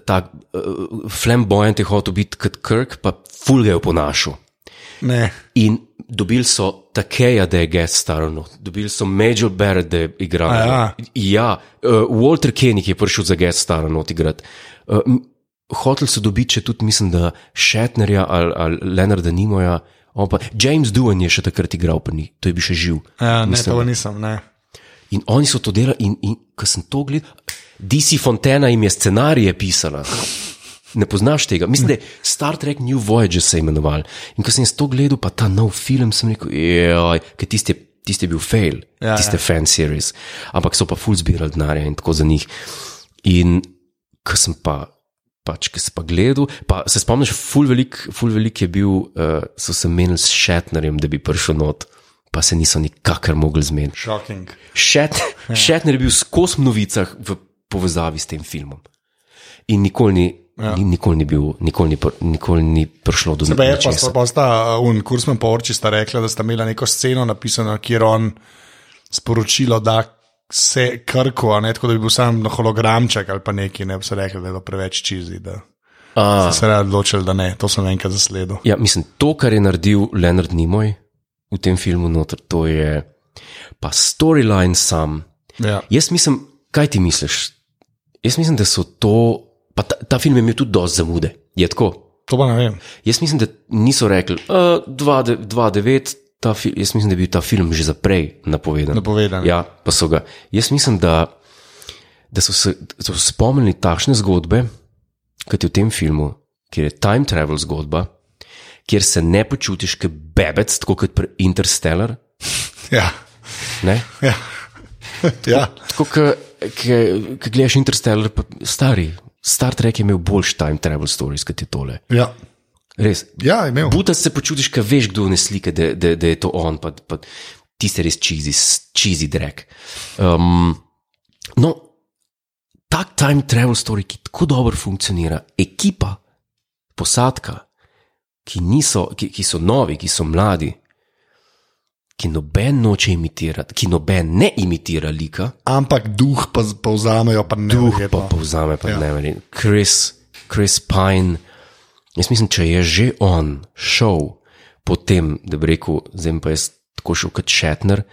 tak uh, flamboyant, je hotel biti kot Kirk, pa ful ga je oponašal. Ne. In dobili so Takeja, da je guest starno, dobili so Major Barrett, da je igral. A ja. ja uh, Walter Kenny je prišel za guest starno odigrati. Uh, Hotel so dobiti, če tudi mislim, da Shatnerja ali, ali Leonarda Nimoja, on pa James Dewan je še takrat igral, pa ni, to je bil še živ. Ja, ne, to nisem. Ne. In oni so to delali, in, in ko sem to gledal, DC Fontana jim je scenarije pisala. Ne poznaš tega. Mislim, da je Star Trek New Voyage se je imenoval. In ko sem jaz to gledal, pa ta nov film, sem rekel, joj, ker tisti, je- tisti je bil fail, Ja, ja, tiste ja. fan series. Ampak so pa full zbirali denarja in tako za njih. In ko sem pa. Pač, ki sem pa gledal, pa se spomniš, full velik, ful velik je bil, uh, so se menili s Šetnerjem, da bi prišel not, pa se niso nikakor mogli zmeniti. Shocking. Ja. Šetner je bil skozi v novicah v povezavi s tem filmom. In nikoli ni, ja. ni, nikoli ni, bil, nikoli ni, pr- nikoli ni prišlo do Pa je pa sta, ničesar. pa sta uh, un kursman pa orči sta rekla, da sta imela neko sceno napisano, kjer on sporočilo da se krko, a ne tako, da bi bil sam na hologramček ali pa neki, ne bi se rekli, da je bilo preveč čizi, da A, se rad odločili, da ne, to sem enkrat zasledil. Ja, mislim, to, kar je naredil Leonard Nimoy v tem filmu, noter, to je pa storyline sam. Ja. Jaz mislim, kaj ti misliš? Jaz mislim, da so to. Pa ta, ta film je imel tudi dosti zamude. Je tako. To pa ne vem. Jaz mislim, da niso rekli, uh, 2-9, jaz mislim, da je bil ta film že zaprej napovedan. Napovedan. Ja, pa so ga. Jaz mislim, da, da so se da so se spomnili takšne zgodbe, kot je v tem filmu, kjer je time travel zgodba, kjer se ne počutiš kot bebec, tako kot pri Interstellar. Ja. [laughs] Ne? Ja. ja. Tako kot gledaš Interstellar, pa stari. Star Trek je imel boljši time travel stories kot je tole. ja. Res, Ja, je imel. Buta se počutiš, ker veš, kdo ne slika, da, da, da je to on, pa, pa ti se res čizi, čizi drek. Um, no, tak time travel story, ki tako dobro funkcionira, ekipa, posadka, ki, niso, ki, ki so novi, ki so mladi, ki noben noče imitirati, ki noben ne imitira lika, Ampak duh pa z- povzamejo, pa ne. duh pa povzame, pa ja. ne verjamem. Chris, Chris Pine, jaz mislim, če je že on šel po tem, da bi rekel, zdaj bom pa jaz tako šel kot Shatner,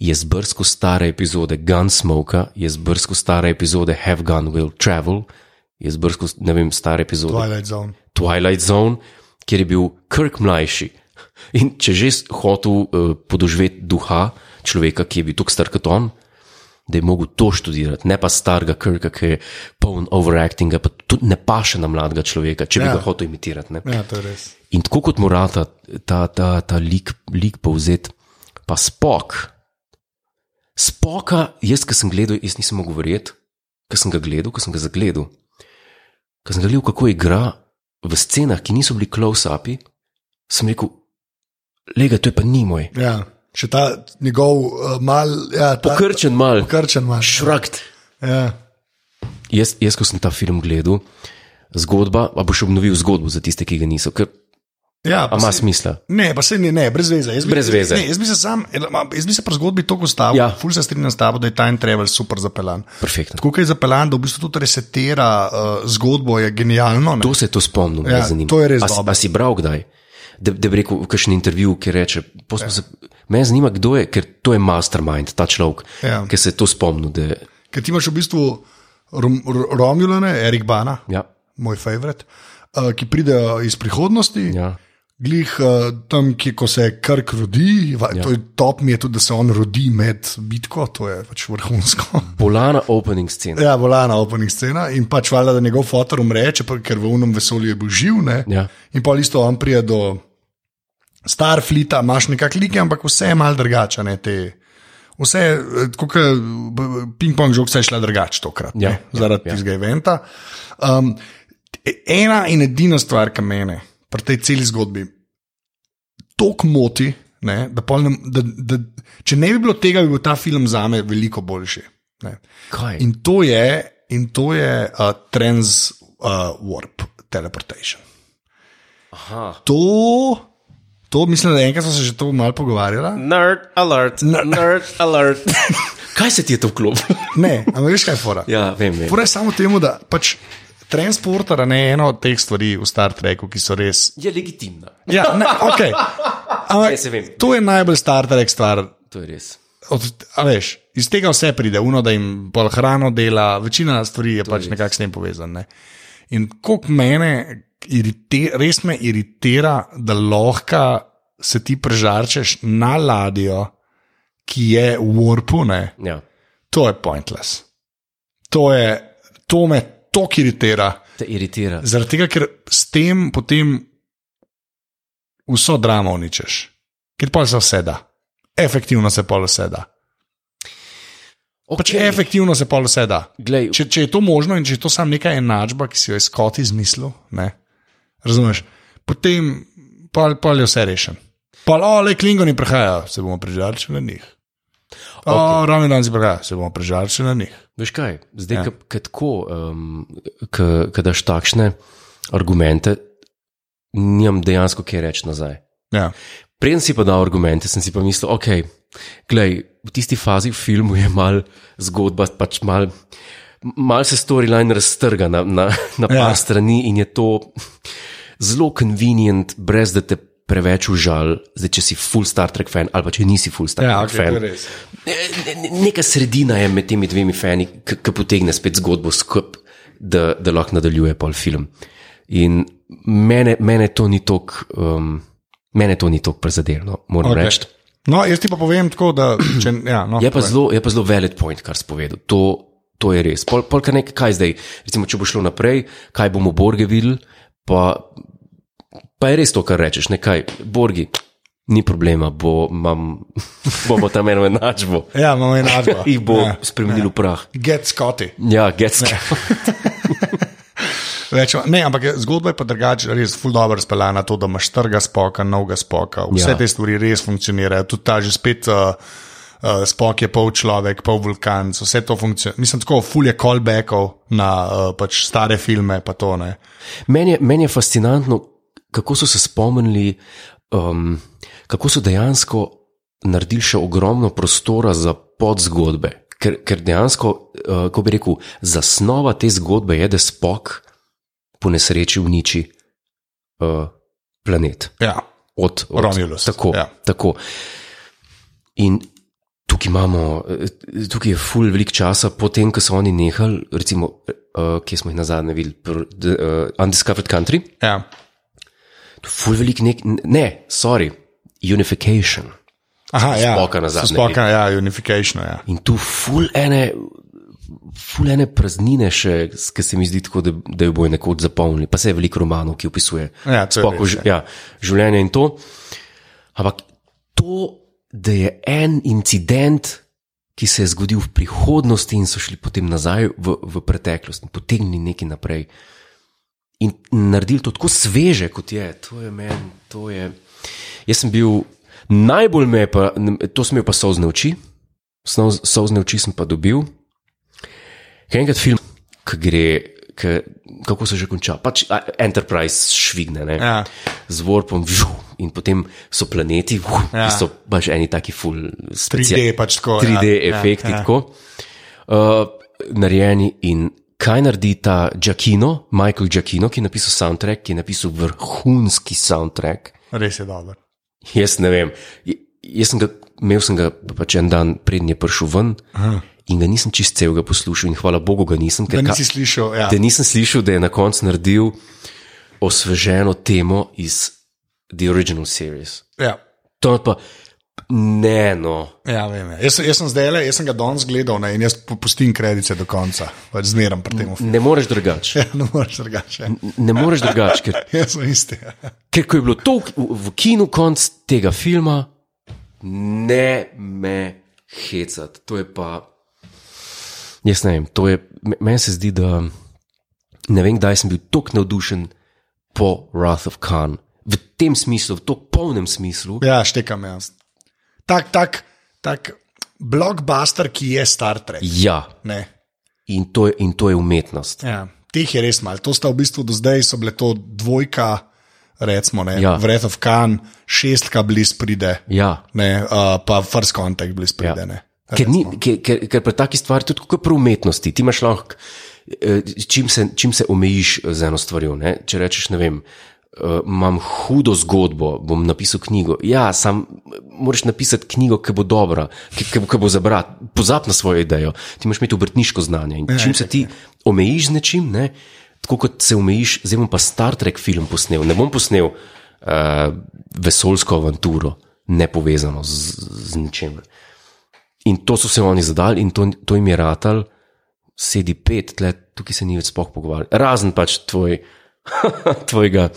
je zbrsko stare epizode Gunsmoke, je zbrsko stare epizode Have Gun Will Travel, je zbrsko, ne vem, stare epizode Twilight Zone. Twilight Zone, kjer je bil Kirk mlajši. In če že s- hotel uh, podoživeti duha človeka, ki je bil tako star kot on, da je mogel to študirati, ne pa starega Kirka, ki je poln overactinga, pa tudi ne paše na mladega človeka, če bi ja. Ja. ga hotel imitirati. Ne? Ja, to je res. In tako kot mora ta, ta, ta, ta lik, lik povzeti, pa spok. Spoka, jaz, ki sem gledal, jaz nisem mogel verjeti, ker sem ga gledal, ker sem ga zagledal. Ker sem gledal, kako igra v scenah, ki niso bili close-upi, sem rekel, lega, to je pa ni moj. Ja. Še ta njegov uh, mal, ja, ta, Pokrčen mal, pokrčen maš. šrakt. Ja. Jaz, jaz, ko sem ta film gledal, zgodba, a boš obnovil zgodbo za tiste, ki ga niso, ker Ja, pa a ima saj- smisla. Ne, pa se ne, ne, brez veze. Jaz bi, Brez veze. Ne, jaz bi se sam, jaz bi se pri zgodbi tako ustavil. Ja. Ja. Ful se strinjam s tabo, da je time travel super zapeljan. Perfektno. Tako kot je zapeljan, da v bistvu tudi resetira uh, zgodbo, je genialno. ne. To se to spomnim, Ja, me zanima. to je res a, si- dobro. a si bral kdaj? Da, da bi rekel, v kakšnem intervjuju, ki reče: ja. se, Me zanima, kdo je, ker to je mastermind, ta človek, Ja. ki se je to spomnil. Da, Ker ti imaš v bistvu Rom, R- Romulane, Erik Bana, ja, moj favorit, uh, ki pridejo iz prihodnosti. ja. Glih uh, tam, ki, ko se Krk rodi, va, ja. to je top, mi je tudi, da se on rodi med bitko, to je pač vrhunsko. Polana opening scene. Ja, volana opening scena in pač valjda, da njegov fotor umre, čeprav- ker v unem vesolju je bil živ. Ne? Ja. In pa isto on prije do Starfleeta, imaš nekakšne like, ampak vse je mal drugače. ne, te- Vse je, eh, tako kot ping-pong žog, vse je šla drugače tokrat, Ja, ne, zaradi ja, ja. ja. tistega eventa. Um, e- ena in edina stvar, ki mene pri tej celi zgodbi tako moti, ne, da pol ne, da, da, če ne bi bilo tega, bi bil ta film za me veliko boljši. Ne. Kaj? In, In to je, in to je uh, transwarp uh, teleportation. Aha. To, to mislim, da enkrat smo se že to malo pogovarjali. Nerd alert, nerd [laughs] alert. Kaj se ti je to vklopilo? Ne, ampak veš kaj je fora. ja, vem, vem. Fora je samo temu, da pač transporter ne je ena od teh stvari v Star Treku, ki so res. Je legitimna. Ja, ne, ok. [laughs] Ampak, Ja, saj vem. to je najbolj Star Trek stvar. To je res. Od, a veš, iz tega vse pride, uno, da jim bolj hrano dela, večina stvari je pač nekako s tem povezana. In koliko mene irite, res me iritira, da lahko se ti prežarčeš na ladjo, ki je v warpu, ne. Ja. to je pointless. To, je, to me tako iritira, Te iritira. zaradi tega, ker s tem potem vso dramo uničeš, ker pa se vse da, efektivno se pa vse da. Pač Okej. efektivno se pa vse da. Glej, Če, če je to možno in če je to samo neka enačba, ki si jo je Scott izmislil, ne, razumeš, potem pa, pa je vse rešen. Pa, o, le klingoni prihajajo, se bomo prežarčili na njih. Okay. Ravno danes prihajajo, se bomo prežarčili na njih. Veš kaj, zdaj, ja. ki tako, um, ki daš takšne argumente, nimam dejansko kaj reči nazaj. Ja. Preden si pa dal argumente, sem si pa mislil, ok, glej, v tisti fazi v filmu je mal zgodba, pač mal, mal se storyline raztrga na, na, na ja. Ja. par strani in je to zelo convenient, brez da te preveč užal, zdaj, če si full Star Trek fan ali pa če nisi full Star Ja, Trek okej, fan. to je res. Ne- ne- Neka sredina je med temi dvemi fani, ki potegne spet zgodbo skupaj, da, da lahko nadaljuje pol film. In mene, mene to ni tok. Um, Mene to ni tako prezadelno, moram okay. reči. No, jaz ti pa povem tako, da če, ja, no, Je pa povej. zelo, je pa zelo velik point, kar si povedal. To, to je res. Pol, pol kar nekaj, kaj zdaj, recimo, če bo šlo naprej, kaj bomo Borge videli, pa, pa je res to, kar rečeš, nekaj, Borgi. Ni problema, bo, mam, [laughs] bomo tam eno enačbo. Ja, imamo enako. [laughs] Jih bo Ja. spremenil v prah. Get Scotty. Ja, getske. Več, ne, ampak je- zgodba je pa drugače, res ful dobro razpeljana, to, da imaš trga spoka, novega spoka, vse Ja. ja. te stvari res funkcionirajo, tudi ta že spet. Uh, Uh, Spok je pol človek, pol vulkan, so vse to funkcionira. Mislim, tako fulje callbackov na uh, pač stare filme, pa to ne. [laughs] Meni je, meni je fascinantno, kako so se spomnili, um, kako so dejansko naredili še ogromno prostora za podzgodbe. Ker, ker dejansko, uh, kako bi rekel, zasnova te zgodbe je, da spok po nesreči uniči uh, planet. Ja, Od, od Romulus, Tako, ja. ja. tako. In tukaj imamo, eh, tukaj je ful velik časa, potem, ko so oni nehali, recimo, uh, kje smo jih na zadnje videli, pr, d, uh, Undiscovered Country. ja. Ful velik nek, ne, sorry, unification. Aha, ja. Spocka nazadnje. So Spocka, ja, unification. Ja. In tu ful ene, ful ene praznine še, ki se mi zdi tako, da, da jo bojo nekoč zapolnili. Pa se je veliko romanov, ki opisuje Ja, to je Spocko res, ž- ja, življenje in to. Ampak to, da je en incident, ki se je zgodil v prihodnosti in so šli potem nazaj v, v preteklost in potegnili nekaj naprej. in naredili to tako sveže, kot je. To je meni, to je. Jaz sem bil, najbolj me je pa, to sem imel pa sozne oči, Snoz- sozne oči sem pa dobil. Kaj enkrat film, ki gre, ki, kako se že konča, pač a, Enterprise švigne, ne? Ja. Z vorpom, vžu, in potem so planeti, vžu, Ja. ja. so pač eni taki full 3D pač tako. 3D ja, efekti, Ja, ja. tako uh, narejeni. In kaj naredi ta Giacchino, Michael Giacchino, ki je napisal soundtrack, ki je napisal vrhunski soundtrack. Res je dobro. Jaz ne vem. j- Jaz sem ga, imel sem ga pač en dan, prednje prišel ven. Aha. In ga nisem čist celega poslušal, in hvala Bogu, ga nisem, Da ker ka- nisi slišal, ja. da nisem slišal, da je na koncu naredil osveženo temo iz The Original Series. ja. To je pa ne, no, Ja, vem, ja. Jaz, jaz sem zdaj le, jaz sem ga danes gledal ne, in jaz pu- pustim kredice do konca, pač zmeram pri tem. ne moreš drugače. [laughs] Ja, ne moreš drugače. Ne moreš drugače, ker Jaz sem isti. Ker ko je bilo to v, v kinu konc tega filma, ne me hecati. To je pa. Jaz ne vem, to je. me- Meni se zdi, da ne vem, kdaj sem bil tako navdušen po Wrath of Khan. V tem smislu, v tako polnem smislu. Ja, štekam jaz. Tak, tak, tak blockbuster, ki je Star Trek. Ja, Ne. in to je, in to je umetnost. Ja. Teh je res malo. To sta v bistvu do zdaj so bile to dvojka, recimo, ne, Ja. ja. Vred of Khan, šestka bliz pride, Ja. ne, uh, pa first contact bliz pride. Ja. Ja. Ker, ni, ker, ker, ker pri taki stvari, tudi kot pri umetnosti, ti imaš lahko, eh, čim se, čim se omejiš eh, z eno stvarjo. Ne? Če rečeš, ne vem, eh, imam hudo zgodbo, bom napisal knjigo. Ja, sam eh, moraš napisati knjigo, ki bo dobra, ki, ki, bo- ki bo zabrat, pozab na svojo idejo. Ti imaš imeti obrtniško znanje. In čim se ti omejiš z nečim, ne? tako kot se omejiš, zdaj bom pa Star Trek film posnel. Ne bom posnel uh, vesolsko avanturo, nepovezano z, z ničemer. In to so se oni zadali, in to, to jim je ratal, sedi pet, tle, tukaj se ni več spoh pogovarjal. Razen pač tvoj, [laughs] tvojega uh,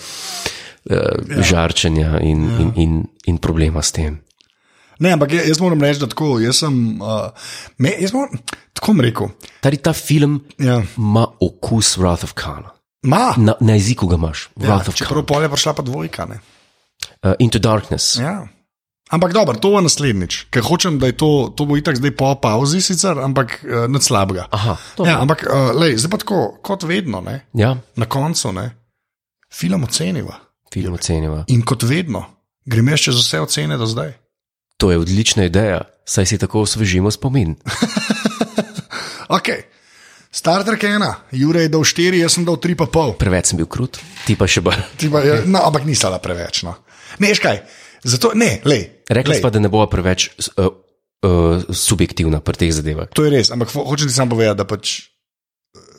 ja. žarčenja in, ja. in, in, in problema s tem. Ne, ampak jaz, jaz moram reči, da tako. Jaz sem, uh, me, jaz moram, tako bom rekel. Tari ta film Ja. ima okus Wrath of Kana. Ma, Na, na jeziku ga imaš, Wrath ja, of Kana. čeprav pol je prišla pa dvojka. Ne? Uh, into Darkness. Ja. Ja. Ampak dobro, to bo naslednjič, ker hočem, da je to, to bo itak zdaj po pauzi, sicer, ampak uh, nič slabega. Aha, dobro. ja, ampak uh, lej, zdaj pa tako, kot vedno, ne, ja, na koncu ne, film oceniva. film oceniva. In kot vedno, gremo še čez vse ocene do zdaj. To je odlična ideja, saj si tako osvežimo spomin. Ok, Star Trek 1, Jure je dal 4, jaz sem dal 3,5. Preveč sem bil krut, ti pa še bolj. Ti pa, ja, no, ampak nisala preveč. No. Ne, veš kaj. Zato ne, le. Rekli smo, da ne bo preveč uh, uh, subjektivna pri teh zadevah. To je res, ampak ho- hočem ti samo povedati, da pač. eh,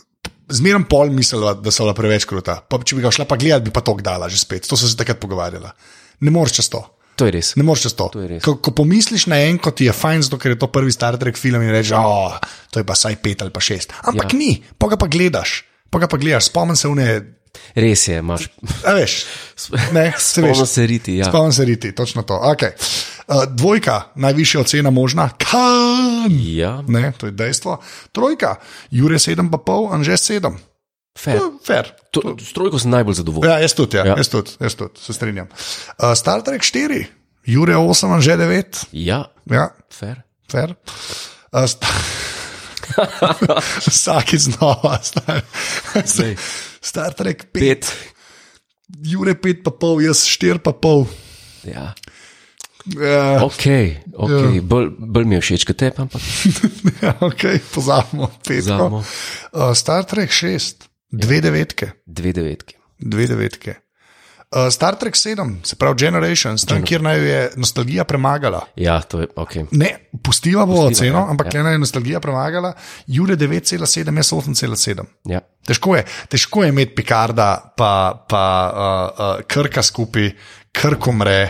Zmeraj pol mislila, da so bila preveč kruta. Pa, če bi ga šla pa gledati, bi pa to dala že spet. To so se takrat pogovarjala. Ne moreš čez to. To je res. Ne moreš čez to. To je res. Ko, ko pomisliš na en, kot je fajn, zato ker je to prvi Star Trek film in rečeš, oh, to je pa saj pet ali pa šest. Ampak ja. ni, pa ga pa gledaš, pa ga pa gledaš, spomni se vne, Res je, imaš. [laughs] a veš. Ne, se veš. Spomnim se riti. Ja. Spomnim se riti, točno to. Okay. Uh, dvojka, najvišja ocena možna, kan. ja, Ne, to je dejstvo. Trojka, Jure 7,5, Anže 7. fair. Fer. To, s trojko sem najbolj zadovoljen. Ja, jaz tudi, ja, ja. jaz tudi, jaz tudi, se strinjam. Uh, Star Trek 4, Jure 8, Anže 9. Ja, Ja, fair. fer. Uh, sta... [laughs] Vsaki znova, star, Zdaj. star Trek 5, Pet. Jure 5,5, jaz 4,5. Ja. Uh, [laughs] Ok, okay. bolj bol mi je všeč kot te, ampak ja, okay, pozabimo, petko. Pozabimo. Uh, Star Trek 6, dve devetke. dve devetki. dve devetke. Uh, Star Trek 7, se pravi Generations, tam, kjer naj jo je nostalgija premagala. Ja, to je ok. Ne, pustiva bo oceno, ampak ja. ena je nostalgija premagala, Jure 9,7, jaz 8,7. Ja. Težko je, težko je imeti Pikarda, pa, pa uh, uh, Krka skupaj, Krk umre,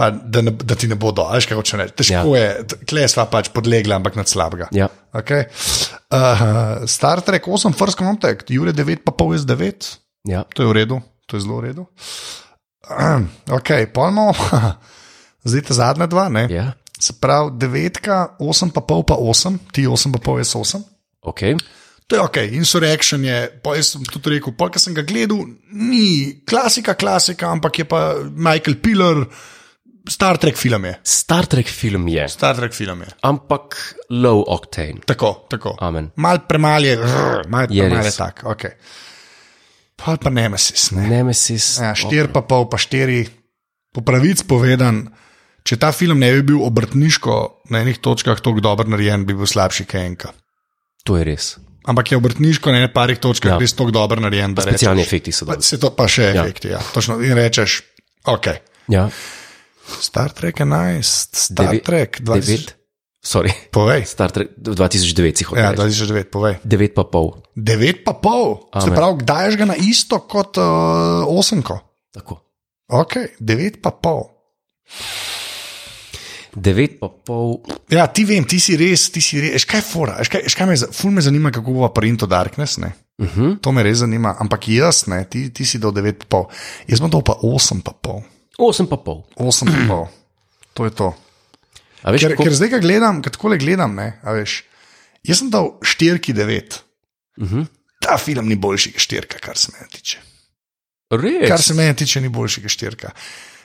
pa da, ne, da ti ne bodo, a veš kaj hoče reči. Težko ja. je, kle sva pač podlegla, ampak nad slabega. Ja. Okay. Uh, Star Trek 8, First Contact, Jure 9, pa pol S9. Ja. To je v redu, to je zelo v redu. [clears throat] ok, pojmo, [laughs] zdaj ta zadnja dva. Ne? ja, Se pravi, devetka, osem pa pol, pa osem, ti osem pa pol, jaz osem. ok. To je ok, insurrection je, pa jaz sem tudi rekel, pa ker sem ga gledal, ni klasika, klasika, ampak je pa Michael Piller, Star Trek film je. Star Trek film je, Star Trek film je. ampak low octane. Tako, tako. Amen. Mal premal je, rrr, mal Je premal je res. tak, ok. Pa pa Nemesis, ne. Nemesis. Ja, štir pa pol, pa štiri, po pravici povedan. Če ta film ne bi bil obrtniško na enih točkah tako dobro narejen, bi bil slabši kot enka. To je res. Ampak je obrtniško na enih parih Ja. točkah ja. res tako dobro narejen, da rečeš. Specialni efekti so dobri. Se to pa še ja. efekti, ja. Točno, in rečeš, ok. Ja, Star Trek 11, Star Devet- Trek 20. 9, sorry, [laughs] Povej, Star Trek 2009 si ja, hotel. 2009, povej. 9 pa pol. 9 pa pol, se Amen. pravi, daješ ga na isto kot uh, osemko. Tako. Ok, 9 pa pol. 9 pa pol. Ja, ti vem, ti si res, ti si res. Eš kaj je fora, eš kaj, eš kaj me, za- ful me zanima, kako bo pa Into Darkness. Ne? Uh -huh. To me res zanima, ampak jaz ne, ti, ti si dal 9,5, jaz bom dal pa 8,5. 8 pa pol. 8,5. [clears throat] To je to. A veš, Ker, kako- ker zdaj, ko gledam, kako le gledam, ne, a veš, jaz sem dal 4,9. uh -huh. Ta film ni boljši, kot štirka, kar se mene tiče. Res. Kar se mene tiče, ni boljši, kot štirka.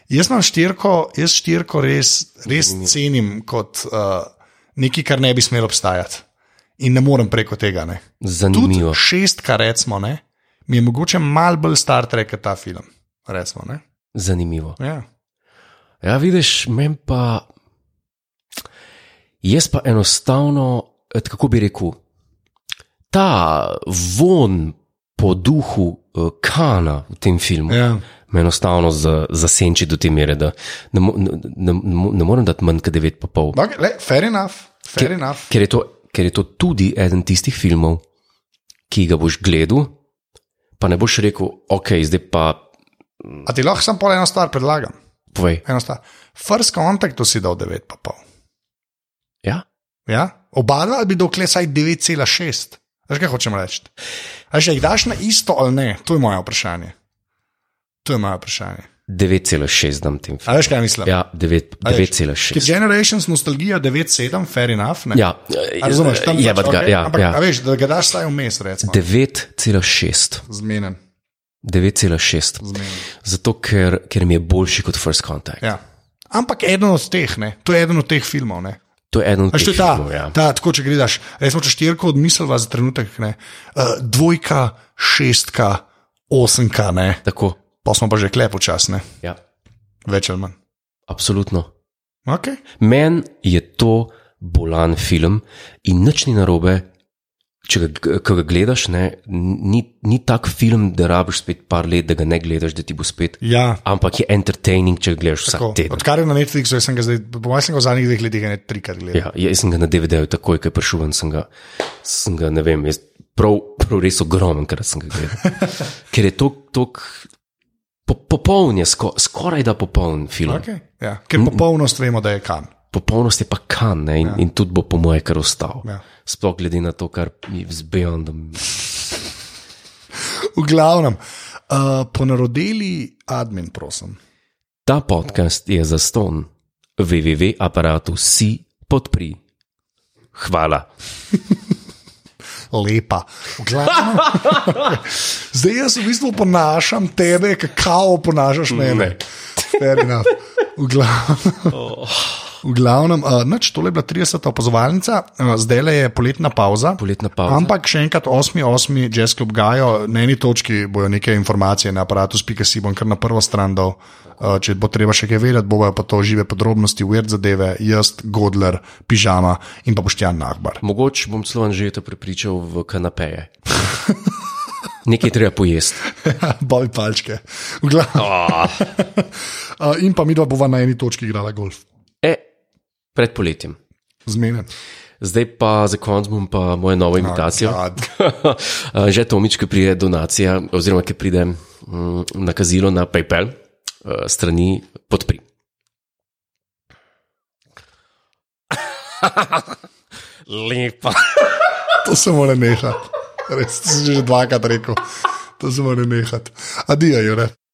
Jaz imam štirko, jaz štirko res, res cenim kot uh, nekaj, kar ne bi smelo obstajati. In ne morem preko tega. Ne. Tudi Zanimivo. šest, kar recimo, ne, mi je mogoče malo bolj star trek kot ta film. Recimo, ne. Zanimivo. ja. Ja, vidiš, meni pa. Jaz pa enostavno, eh, kako bi rekel, ta von po duhu eh, Kana v tem filmu. Ja. me enostavno za- zasenči do te mere, da ne, mo- ne, ne, ne- ne morem dati manj kot 9,5. Okay, le, fair enough, fair enough. Ker, je to- ker je to tudi eden tistih filmov, ki ga boš gledal, pa ne boš rekel, ok, zdaj pa A ti lahko samo pol eno stvar predlagam? povej. Eno stvar. First contact si dal 9,5. Ja? Ja? Oba dva bi dokle saj 9,6. Veš, kaj hočem reči? A že jih daš na isto ali ne? To je moje vprašanje. To je moje vprašanje. 9,6 dam tem filmom. A veš, kaj mislim? Ja, devet- A veš, 9,6. Ker Generations nostalgija 9,7, fair enough. Ne? Ja, eh, A razumeš, tam je pač, pač ga, okej, ja, Ampak, a ja. veš, da ga daš saj vmes, recimo. 9,6. Zmenen. 9,6. zmenen. Zato, ker, ker mi je boljši kot First Contact. Ja. Ampak eden od teh, ne? to je eden od teh filmov. Ne? To je eden od A še teh to je ta, filmov. Ja. ta, tako če gledaš, recimo če štirko odmisliva za trenutek, ne? Uh, dvojka, šestka, osemka, ne? Tako, pa smo pa že klepo časne, ja, več ali manj. absolutno. Okay. Meni je to bolan film in nič ni narobe, če ga, ko ga gledaš, ne, ni, ni tak film, da rabiš spet par let, da ga ne gledaš, da ti bo spet. Ja. Ampak je entertaining, če ga gledaš vsak Tako, teden. Odkar je na Netflixu, jaz sem ga zdaj, po mojem, sem ga v zadnjih dveh letih ne trikrat gledal. Ja, jaz sem ga na DVD-ju takoj, ko je prišel ven, sem ga, sem ga ne vem, jaz prav, prav res ogromen krat sem ga gledal. Ker je to tok, po, popoln, je, sko, skoraj da popoln film. Okay, ja. Ker popolnost vemo, da je kan. Popolnost je pa kan ne, in, ja. in tudi bo po moje kar ostal. Ja. Sploh glede na to, kar je z Beyondom. V glavnem, uh, ponarodeli admin, prosim. Ta podcast je za ston, www.aparatu si podpri. Hvala. Lepa. V glavnem, [laughs] zdaj jaz v bistvu ponašam tebe, kakao ponašaš mene. Fair enough. V glavnem. V glavnem, uh, nič, tole je bila 30. opazovalnica, uh, zdaj le je poletna pauza. Poletna pauza. Ampak še enkrat, 8.8. jazz klub Gajo, na eni točki bojo neke informacije na aparatu, spika si bom kar na prvo stran dal. Uh, če bo treba še kaj vedeti, bojo pa to žive podrobnosti, ured zadeve, jaz, Godler, pižama in pa boštjan nahbar. [laughs] Mogoče bom celo Anžeta prepričal v kanapeje. [laughs] Nekaj je treba pojesti. Boj palčke. V glavnem. Oh. Uh, in pa mi dva bova na eni točki igrala golf. E, pred poletjem. Zmenen. Zdaj pa za konc bom pa moja nova imitacija. God. [laughs] Že Tomič, ki pride donacija, oziroma ki pride mm, nakazilo na PayPal, eh, strani podpri. Lepa. To se mora nehati. Res, to si že dvakrat rekel. To se mora nehati. Adijo, Jure.